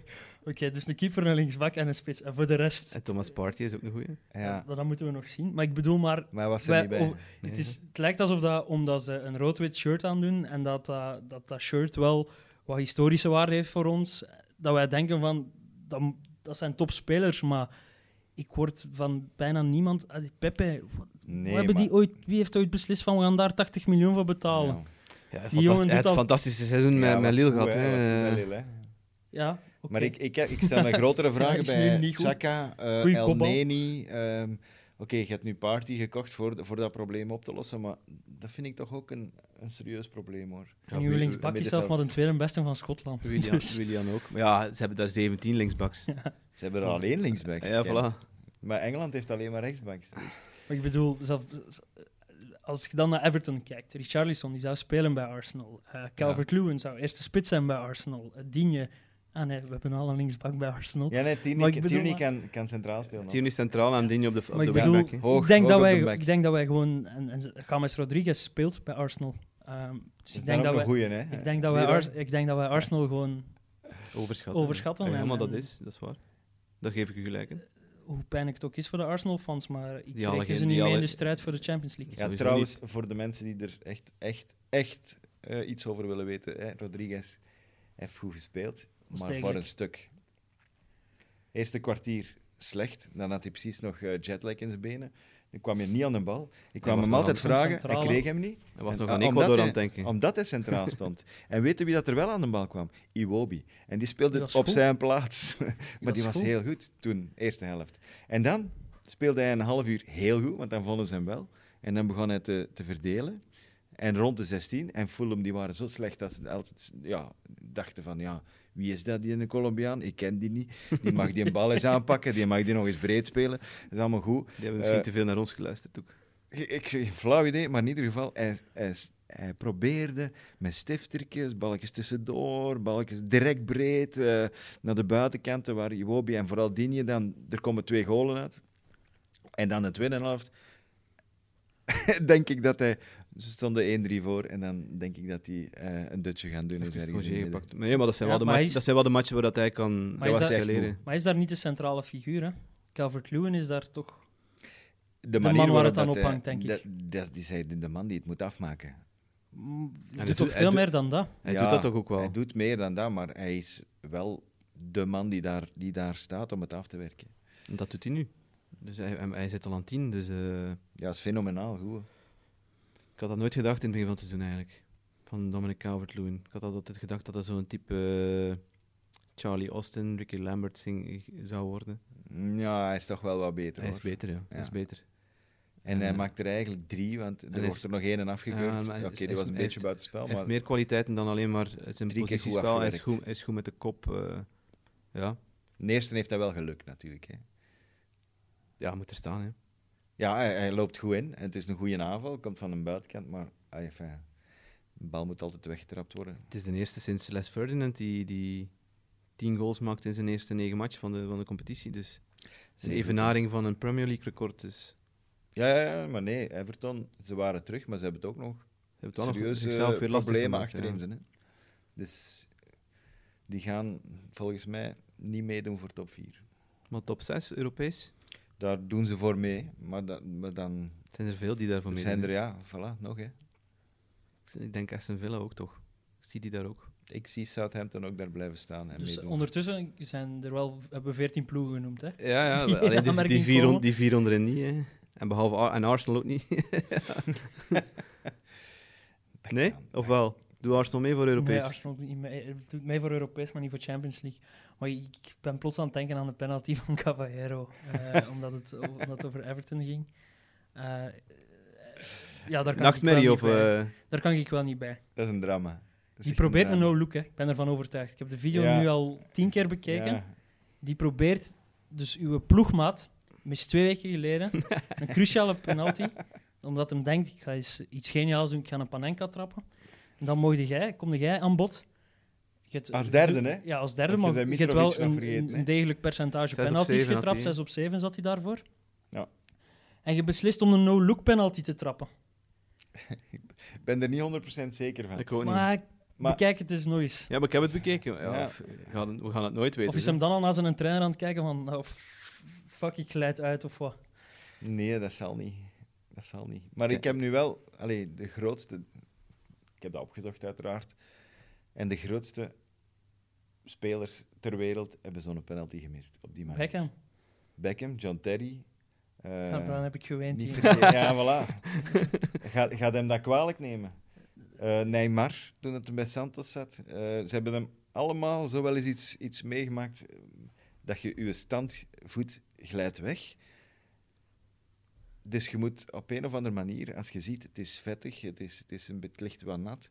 S4: Oké, dus een keeper, een linksbak en een spits. En voor de rest,
S5: En Thomas Partey is ook een goede.
S3: Ja.
S4: dat, dat moeten we nog zien. Maar ik bedoel maar,
S3: Maar hij was er
S4: Wij-
S3: niet bij.
S4: oh, het, is, het lijkt alsof dat, omdat ze een rood-wit shirt aandoen en dat, eh, dat dat shirt wel wat historische waarde heeft voor ons, dat wij denken van, dat, m- dat zijn topspelers, maar ik word van bijna niemand... ah, die Pepe, wat-
S3: Nee,
S4: wat hebben die
S3: maar-
S4: ooit, wie heeft ooit beslist van, we gaan daar 80 miljoen voor betalen?
S3: Ja.
S4: Die
S5: Ja, hij fantast-
S4: jongen doet
S5: hij had een
S4: al-
S5: fantastische seizoen
S3: Ja,
S5: met,
S3: was
S5: met Lille
S3: goed,
S5: gehad.
S3: hij was goed
S5: hè.
S3: bij Lille, hè.
S4: Ja, oké.
S3: Maar ik, ik, ik stel me grotere vragen
S4: is nu
S3: bij
S4: niet goed.
S3: Saka, eh,
S4: Goeie
S3: El
S4: kopbal.
S3: Neni. ehm, Oké, je hebt nu Party gekocht voor, voor dat probleem op te lossen, maar dat vind ik toch ook een, een serieus probleem, hoor.
S5: Ja,
S4: en uw
S5: Wil-
S4: linksbak is zelf maar de
S3: middenveld.
S4: tweede beste van Schotland.
S5: Willian,
S4: Dus-
S5: Willian ook. Maar ja, ze hebben daar 17 linksbacks. Ja,
S3: Ze hebben er alleen linksbacks.
S5: voilà.
S3: Maar Engeland heeft alleen maar rechtsbacks. Dus.
S4: Maar ik bedoel, zelf, als je dan naar Everton kijkt, Richarlison die zou spelen bij Arsenal. Eh, Calvert-Lewin zou eerste spits zijn bij Arsenal. Eh, Digne, ah nee, we hebben al een linksbak bij Arsenal.
S3: Ja, nee, Tierney,
S4: Maar ik bedoel-
S3: Tierney kan, kan centraal spelen. hoor.
S5: Tierney centraal en Digne op de, op
S4: maar
S5: de
S4: ik bedoel,
S5: wingback. hè.
S3: Hoog-
S4: ik, denk
S3: hoog
S4: dat
S3: op
S4: wij,
S3: de back.
S4: ik denk dat wij gewoon... En, en James Rodriguez speelt bij Arsenal. Ehm, dus ik
S3: is dan
S4: denk dat,
S3: ook een
S4: wij,
S3: goeie, hè?
S4: ik, denk dat wij
S3: Nee,
S4: Ars- ik denk dat wij Arsenal gewoon...
S5: Overschatten.
S4: Overschatten,
S5: Ja,
S4: en-
S5: maar dat
S4: en-
S5: is, dat is waar. Daar geef ik u gelijk in.
S4: Hoe pijnlijk het ook is voor de Arsenal-fans, maar ik
S5: Die alle
S4: reken ze
S5: geen-
S4: niet
S5: die
S4: mee in de
S5: alle-
S4: strijd voor de Champions League.
S3: Ja,
S5: Sowieso
S3: trouwens, voor de mensen die er echt, echt, echt eh, iets over willen weten, hè, Rodriguez heeft goed gespeeld, maar voor
S4: Onsteigelijk.
S3: een stuk. Eerste kwartier slecht, dan had hij precies nog eh, jetlag in zijn benen. Dan kwam je niet aan de bal. Ik kwam
S5: was
S3: hem
S5: nog
S3: altijd
S5: aan-
S3: vragen,
S4: Centraal,
S3: hij kreeg hem niet.
S5: Hij was
S3: En,
S5: nog aan
S3: ah, omdat
S5: Ecuador
S3: hij-
S5: aan het denken.
S3: Omdat hij centraal stond. en weet je wie dat er wel aan de bal kwam? Iwobi. En die speelde
S4: Die was
S3: op
S4: goed.
S3: zijn plaats. maar
S4: was
S3: die was
S4: goed.
S3: heel goed toen, eerste helft. En dan speelde hij een half uur heel goed, want dan vonden ze hem wel. En dan begon hij te, te verdelen. En rond de 16. En Fulham die waren zo slecht dat ze altijd ja, dachten van... Ja, wie is dat, die een Colombiaan? Ik ken die niet. Die mag die een bal eens aanpakken. Die mag die nog eens breed spelen. Dat is allemaal goed.
S5: Die hebben misschien
S3: Eh,
S5: te veel naar ons geluisterd ook.
S3: Ik, ik, flauw idee, maar in ieder geval, hij, hij, hij probeerde met stiftertjes, balkjes tussendoor, balkjes direct breed eh, naar de buitenkanten waar Iwobi en vooral Digne dan... Er komen twee golen uit. En dan de tweede helft denk ik dat hij... Ze stonden 1-3 voor en dan denk ik dat hij eh, een dutje gaan doen. is
S5: Even
S3: ergens in het
S5: Roger
S3: midden.
S5: gepakt. Maar, nee, maar dat zijn,
S4: Ja,
S5: wel de
S4: maar hij
S5: match-
S4: is-
S5: dat zijn wel de matchen waar dat hij kan
S4: Maar is dat-
S5: leren.
S4: Maar is daar niet de centrale figuur, hè? Calvert-Lewin is daar toch...
S3: de
S4: man
S3: manier
S4: waar het
S3: waarop
S4: aan
S3: dat,
S4: ophangt,
S3: eh,
S4: denk ik.
S3: Dat, dat is hij, de de man die het moet afmaken.
S4: Mm,
S5: hij
S4: doet
S5: doet-
S4: toch
S5: hij
S4: veel
S5: doet-
S4: meer dan dat?
S5: Hij
S3: Ja,
S5: doet dat toch ook wel.
S3: Hij doet meer dan dat, maar hij is wel de man die daar, die daar staat om het af te werken.
S5: Dat doet hij nu. Dus hij, hij, hij zit al aan tien, dus eh,
S3: Ja, dat is fenomenaal goed.
S5: ik had dat nooit gedacht in het begin van het seizoen eigenlijk. Van Dominic Calvert-Lewin. Ik had dat altijd gedacht dat dat zo'n type eh, Charlie Austin, Ricky Lambert zing- zou worden.
S3: Mm, Ja, hij is toch wel wat beter.
S5: Hij is
S3: hoor.
S5: beter, ja. Hij is
S3: Ja.
S5: beter.
S3: En hij
S5: En, eh,
S3: maakt er eigenlijk drie, want er
S5: hij
S3: wordt
S5: is-
S3: er nog één
S5: Ja,
S3: afgekeurd.
S5: maar hij
S3: Oké,
S5: is-
S3: die
S5: hij is-
S3: was een beetje
S5: hij heeft-
S3: buitenspel,
S5: Hij heeft
S3: maar
S5: meer kwaliteiten dan alleen maar zijn
S3: Drie keer goed
S5: positiespel. Hij is
S3: afgewerkt.
S5: goed, hij is goed met de kop. eh, ja.
S3: de eerste heeft hij wel geluk natuurlijk. Hè.
S5: ja, hij moet er staan. Hè.
S3: Ja, hij, hij loopt goed in. Het is een goede aanval, komt van een buitenkant, maar hij heeft, eh, de bal moet altijd weggetrapt worden.
S5: Het is de eerste sinds Les Ferdinand die, die tien goals maakt in zijn eerste negen matchen van de, van de competitie. Dus een
S3: Zeker.
S5: evenaring van een Premier League record. Dus
S3: Ja, ja, ja, maar nee, Everton, ze waren terug, maar ze hebben het ook nog
S5: ze hebben het wel nog
S3: serieuze
S5: zichzelf weer lastig
S3: eh, problemen
S5: gemaakt,
S3: achterin
S5: ja.
S3: zijn. Hè? Dus die gaan volgens mij niet meedoen voor top 4.
S5: Maar top 6 Europees
S3: Daar doen ze voor mee, maar, da- maar dan
S5: zijn er veel die daarvoor
S3: er
S5: meedoen.
S3: zijn er, ja, voilà, nog hè.
S5: hè. Ik denk Aston Villa ook toch. Ik zie die daar ook.
S3: Ik zie Southampton ook daar blijven staan en
S4: Dus
S3: meedoen.
S4: ondertussen zijn er wel, hebben we 14 ploegen genoemd, hè?
S5: Ja, ja
S4: Die
S5: alleen
S4: in
S5: die, die,
S4: aanmerking
S5: vier, on-
S4: komen.
S5: die vier onderin niet. Hè. En behalve Ar- en Arsenal ook niet.
S3: Dat
S5: nee?
S3: kan.
S5: Of wel? Doe Arsenal mee voor
S4: Nee,
S5: Europees?
S4: Arsenal doet niet mee. Het doet mee voor Europees, maar niet voor Champions League. Maar ik ik ben plots aan het denken aan de penalty van Caballero, eh, omdat, het, omdat het over Everton ging. Eh, eh, ja, daar kan, ik
S5: Nachtmerrie
S4: wel
S5: of...
S4: niet bij.
S5: eh,
S4: daar kan ik wel niet bij.
S3: Dat is een drama. Dat is
S4: Die
S3: echt
S4: probeert een
S3: drama.
S4: no-look, hè. Ik ben ervan overtuigd. Ik heb de video
S3: Ja.
S4: nu al tien keer bekeken.
S3: Ja.
S4: Die probeert dus uw ploegmaat, mis twee weken geleden, een cruciale penalty, omdat hem denkt, ik ga eens iets geniaals doen, ik ga een panenka trappen. En dan mocht jij, kom jij aan bod. Je hebt-
S3: Als derde, hè?
S4: Ja, als derde,
S3: Want je
S4: maar
S3: zei
S4: je hebt
S3: Mitrovic
S4: wel een,
S3: nog vergeten,
S4: een
S3: hè?
S4: degelijk percentage
S5: Zes op
S4: penalties
S5: zeven had
S4: getrapt.
S5: hij.
S4: 6 op 7 zat hij daarvoor.
S3: Ja.
S4: En je beslist om een no-look penalty te trappen.
S3: Ik ben er niet 100% zeker van.
S5: ik ook niet.
S4: Maar,
S3: Maar-
S4: bekijk het eens nog eens.
S5: Ja, maar ik heb het bekeken. Ja,
S3: Ja.
S5: of- We, gaan, we gaan het nooit weten.
S4: Of is
S5: hè.
S4: hem dan al naar zijn trainer aan het kijken van... nou, f- fuck, ik glijd uit of wat.
S3: Nee, dat zal niet. Dat zal niet. Maar ik
S5: Oké.
S3: heb nu wel, allee, de grootste, ik heb dat opgezocht uiteraard, en de grootste spelers ter wereld hebben zo'n penalty gemist op die manier.
S4: Beckham.
S3: Beckham, John Terry. eh,
S4: Ja, dan heb ik geweend
S3: niet
S4: hier.
S3: vergeten- ja, voilà. Gaat, gaat hem dat kwalijk nemen? Eh Neymar, toen het bij Santos zat. eh, ze hebben hem allemaal zo wel eens iets, iets meegemaakt eh, dat je je standvoet glijdt weg. Dus je moet op een of andere manier, als je ziet, het is vettig, het, is, het, is een, beetje licht wat nat.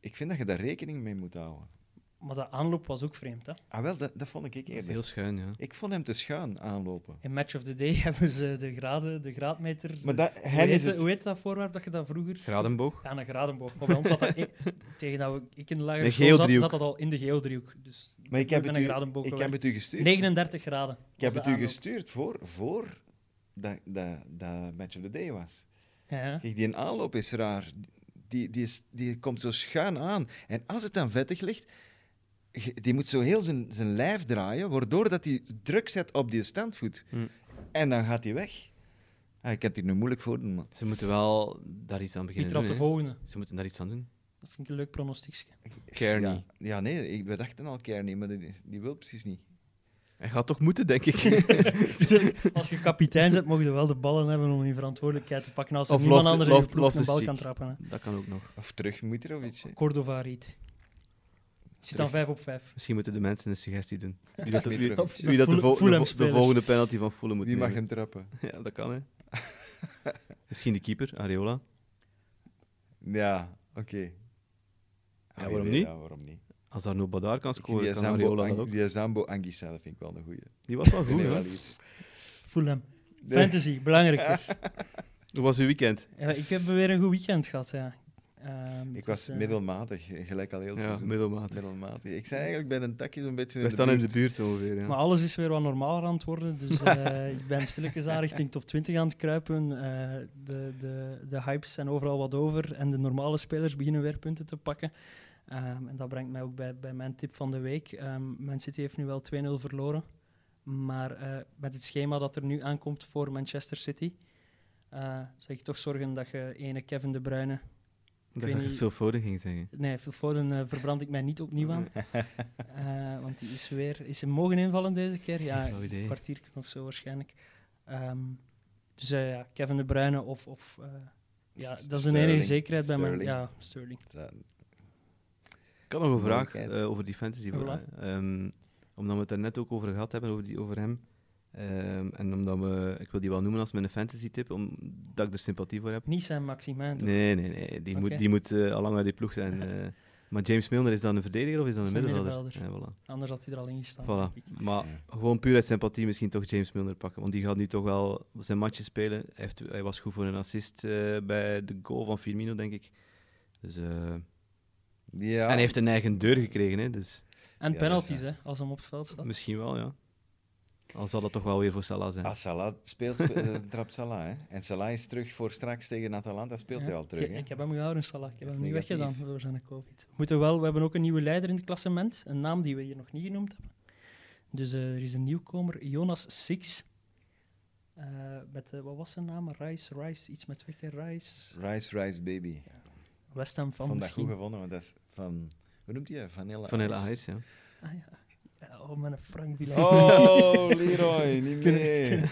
S3: Ik vind dat je daar rekening mee moet houden.
S4: Maar de aanloop was ook vreemd. Hè?
S3: Ah wel, dat, dat vond ik
S5: Dat is
S3: eerder.
S5: heel schuin, ja.
S3: Ik vond hem te schuin aanlopen.
S4: In Match of the Day hebben ze de, graden, de graadmeter...
S3: Maar dat,
S4: hoe,
S3: hij
S4: heet,
S3: is
S4: het-
S3: het.
S4: hoe heet dat voorwerp dat je dat vroeger...
S5: Gradenboog.
S4: Aan een gradenboog. Maar bij ons zat dat in- tegen dat we, ik in de lagere
S5: Een
S4: school zat, zat
S5: geodriehoek.
S4: dat al in de geodriehoek. Dus
S3: Maar ik heb het,
S4: een
S3: u,
S4: gradenboog
S3: ik heb
S4: gewerkt.
S3: het u gestuurd.
S4: 39 graden.
S3: Ik heb
S4: was
S3: het
S4: de
S3: u
S4: aanloop.
S3: gestuurd voor, voor dat, dat, dat Match of the Day was.
S4: Ja, ja.
S3: Kijk, die aanloop is raar. Die, die, is, die komt zo schuin aan. En als het dan vettig ligt, je- die moet zo heel zijn, zijn lijf draaien, waardoor dat hij druk zet op die standvoet.
S5: Hm.
S3: En dan gaat hij weg. Ah, ik kan het hier nu moeilijk voor doen, maar
S5: Ze moeten wel daar iets aan
S4: Wie
S5: beginnen.
S4: trapt de
S5: doen, hè.
S4: volgende?
S5: Ze moeten daar iets aan doen.
S4: Dat vind ik een leuk pronostiekje.
S5: Kearney.
S3: Ja, ja, nee, ik, we dachten al Kearney, maar die, die wil precies niet.
S5: Hij gaat toch moeten, denk ik.
S4: Als je kapitein bent, mogen je wel de ballen hebben om die verantwoordelijkheid te pakken. Als er
S5: Of
S4: niemand
S5: Loftus-
S4: anders in de ploeg
S5: Loft-
S4: een
S5: Loftus
S4: bal
S5: ziek.
S4: kan trappen. Hè.
S5: dat kan ook nog.
S3: Of terug moet er of iets. hè.
S4: Cordova riet. Het zit dan 5 op 5.
S5: Misschien moeten de mensen een suggestie doen. Wie dat, wie,
S3: Mitrovic.
S5: wie dat de,
S4: Fulham-
S5: vol- de
S4: Fulham
S5: vol- de
S4: spelers.
S5: volgende penalty van Fulham moet
S3: Wie mag
S5: nemen.
S3: hem trappen?
S5: Ja, dat kan, hè. Misschien de keeper, Areola.
S3: Ja, oké. Ah,
S5: waarom
S3: weet
S5: niet?
S3: dat, waarom niet?
S5: Als Arno Badaar kan
S3: Die
S5: scoren, kan
S3: Zambo
S5: Areola
S3: Ang-
S5: dat ook.
S3: Die Zambo Anguissa, dat vind ik wel een goeie.
S5: Die was wel goed,
S3: Nee,
S5: hè.
S3: wel iets.
S4: Fulham.
S3: Nee.
S4: Fantasy, belangrijk. weer.
S5: Hoe was uw weekend?
S4: Ja, ik heb weer een goed weekend gehad. Ja. Ehm,
S3: Ik
S4: dus,
S3: was
S4: eh,
S3: middelmatig, eh, gelijk al heel het
S5: Ja,
S3: seizoen.
S5: middelmatig.
S3: Middelmatig. Ik zei eigenlijk bij een takje zo'n beetje.
S5: We
S3: in
S5: staan in de
S3: buurt.
S5: buurt ongeveer. Ja.
S4: Maar alles is weer wat normaler aan het worden. Dus eh, ik ben stilletjes aan richting top 20 aan het kruipen. Eh, de, de, de hypes zijn overal wat over. En de normale spelers beginnen weer punten te pakken. Ehm, en dat brengt mij ook bij, bij mijn tip van de week. Ehm Man City heeft nu wel 2-0 verloren. Maar eh, met het schema dat er nu aankomt voor Manchester City, eh zou ik toch zorgen dat je ene Kevin De Bruyne...
S5: ik
S4: weet
S5: dacht dat je
S4: niet-
S5: veel fouten ging zeggen.
S4: Nee, Phil Foden eh, verbrand ik mij niet opnieuw aan. Eh, want die is weer... Is hem mogen invallen deze keer?
S5: Geen
S4: Ja,
S5: flauw idee.
S4: een kwartier of zo waarschijnlijk. Ehm, dus eh, ja, Kevin De Bruyne of... of eh, ja, dat is een
S3: Sterling.
S4: enige zekerheid bij mijn...
S3: Sterling.
S4: Ja, Sterling.
S3: Ja,
S5: Ik had nog een vraag
S3: Mogelijkheid.
S5: eh, over die fantasy. vraag. Ehm, omdat we het daar net ook over gehad hebben, over, die, over hem. Ehm, en omdat we, ik wil die wel noemen als mijn fantasy tip, omdat ik er sympathie voor heb.
S4: Niet zijn Maximin, toch?
S5: Nee, nee, nee. Die
S4: Oké.
S5: moet, die moet eh, al lang uit die ploeg zijn. eh. maar James Milner is dan een verdediger of is dat
S4: Is
S5: een
S4: een
S5: middenvelder? Ja, voilà.
S4: Anders had hij er al in gestaan.
S5: Voilà.
S4: denk ik.
S5: Maar gewoon puur uit sympathie misschien toch James Milner pakken. Want die gaat nu toch wel zijn matje spelen. Hij, heeft, hij was goed voor een assist eh, bij de goal van Firmino, denk ik. Dus, eh,
S3: Ja.
S5: En hij heeft een eigen deur gekregen, hè, dus
S4: En
S3: Ja,
S4: penalties,
S3: dat
S4: hè, als hem op het veld staat.
S5: misschien wel, ja. Al zal dat toch wel weer voor Salah zijn.
S3: Als Ah, Salah speelt, trap trapt Salah. Hè? En Salah is terug voor straks tegen Atalanta, speelt
S4: Ja.
S3: hij al terug.
S4: Ik,
S3: hè?
S4: ik heb hem gehouden, Salah. Ik heb
S3: Dat
S4: hem
S3: is
S4: niet
S3: negatief.
S4: weggedaan door zijn COVID. We, moeten wel, we hebben ook een nieuwe leider in het klassement. Een naam die we hier nog niet genoemd hebben. Dus eh, er is een nieuwkomer, Jonas Six. Eh, met, eh, wat was zijn naam? Rice, Rice, iets met twee keer Rice.
S3: Rise, Rise Baby.
S4: West Ham van
S3: Vandaag goed
S4: misschien.
S3: gevonden, want dat is van... Hoe noemt hij? Vanilla
S5: Van hele
S3: Ice.
S5: Ajax, ja.
S4: Ah, ja. Oh, mijn Frank Villa.
S3: Oh, Leroy, niet meer.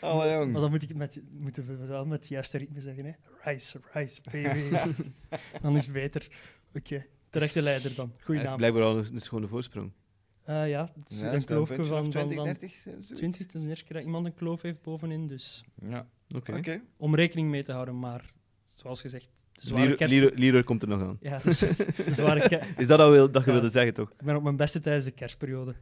S3: Alle
S4: Maar
S3: jong.
S4: dan moet ik het met, moeten we wel met het juiste ritme zeggen. Hè? Rice, Rice, baby. dan is het beter. Oké, terechte leider dan.
S5: Hij
S4: Goeie
S5: heeft
S4: naam.
S5: blijkbaar al een, een schone voorsprong.
S4: Eh, ja, het is
S3: Ja,
S4: een
S3: is dat
S4: kloofje
S3: puntje of
S4: van,
S3: 20,
S4: van, van
S3: 30? zoiets?
S4: 20, het is de eerste keer dat iemand een kloof heeft bovenin, dus
S3: Ja,
S5: Oké.
S3: oké.
S4: om rekening mee te houden, maar zoals gezegd, de zware
S5: Leroy-
S4: kerst-
S5: Leroy- Leroy komt er nog aan.
S4: Ja, dus, de zware ke-
S5: Is dat al wil, dat je
S4: Ja.
S5: wilde zeggen, toch?
S4: ik ben op mijn beste tijdens de kerstperiode.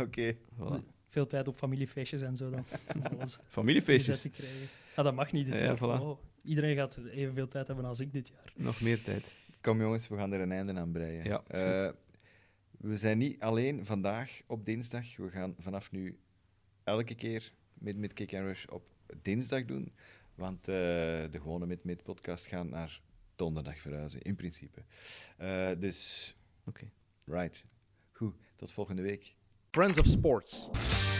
S3: Oké.
S5: Voilà.
S4: Veel tijd op familiefeestjes en zo dan. om alles gezet
S5: Familiefeestjes.
S4: te krijgen. Ja, dat mag niet dit
S5: Ja,
S4: jaar.
S5: voilà.
S4: Oh, iedereen gaat evenveel tijd hebben als ik dit jaar.
S5: Nog meer tijd.
S3: Kom jongens, we gaan er een einde aan breien.
S5: Ja, is
S3: Eh, we zijn niet alleen vandaag op dinsdag. We gaan vanaf nu elke keer mid mid Kick and Rush op dinsdag doen. Want eh, de gewone mid mid podcast gaat naar donderdag verhuizen, in principe. Eh, dus,
S5: Oké.
S3: right. Goed, tot volgende week.
S1: Friends of Sports.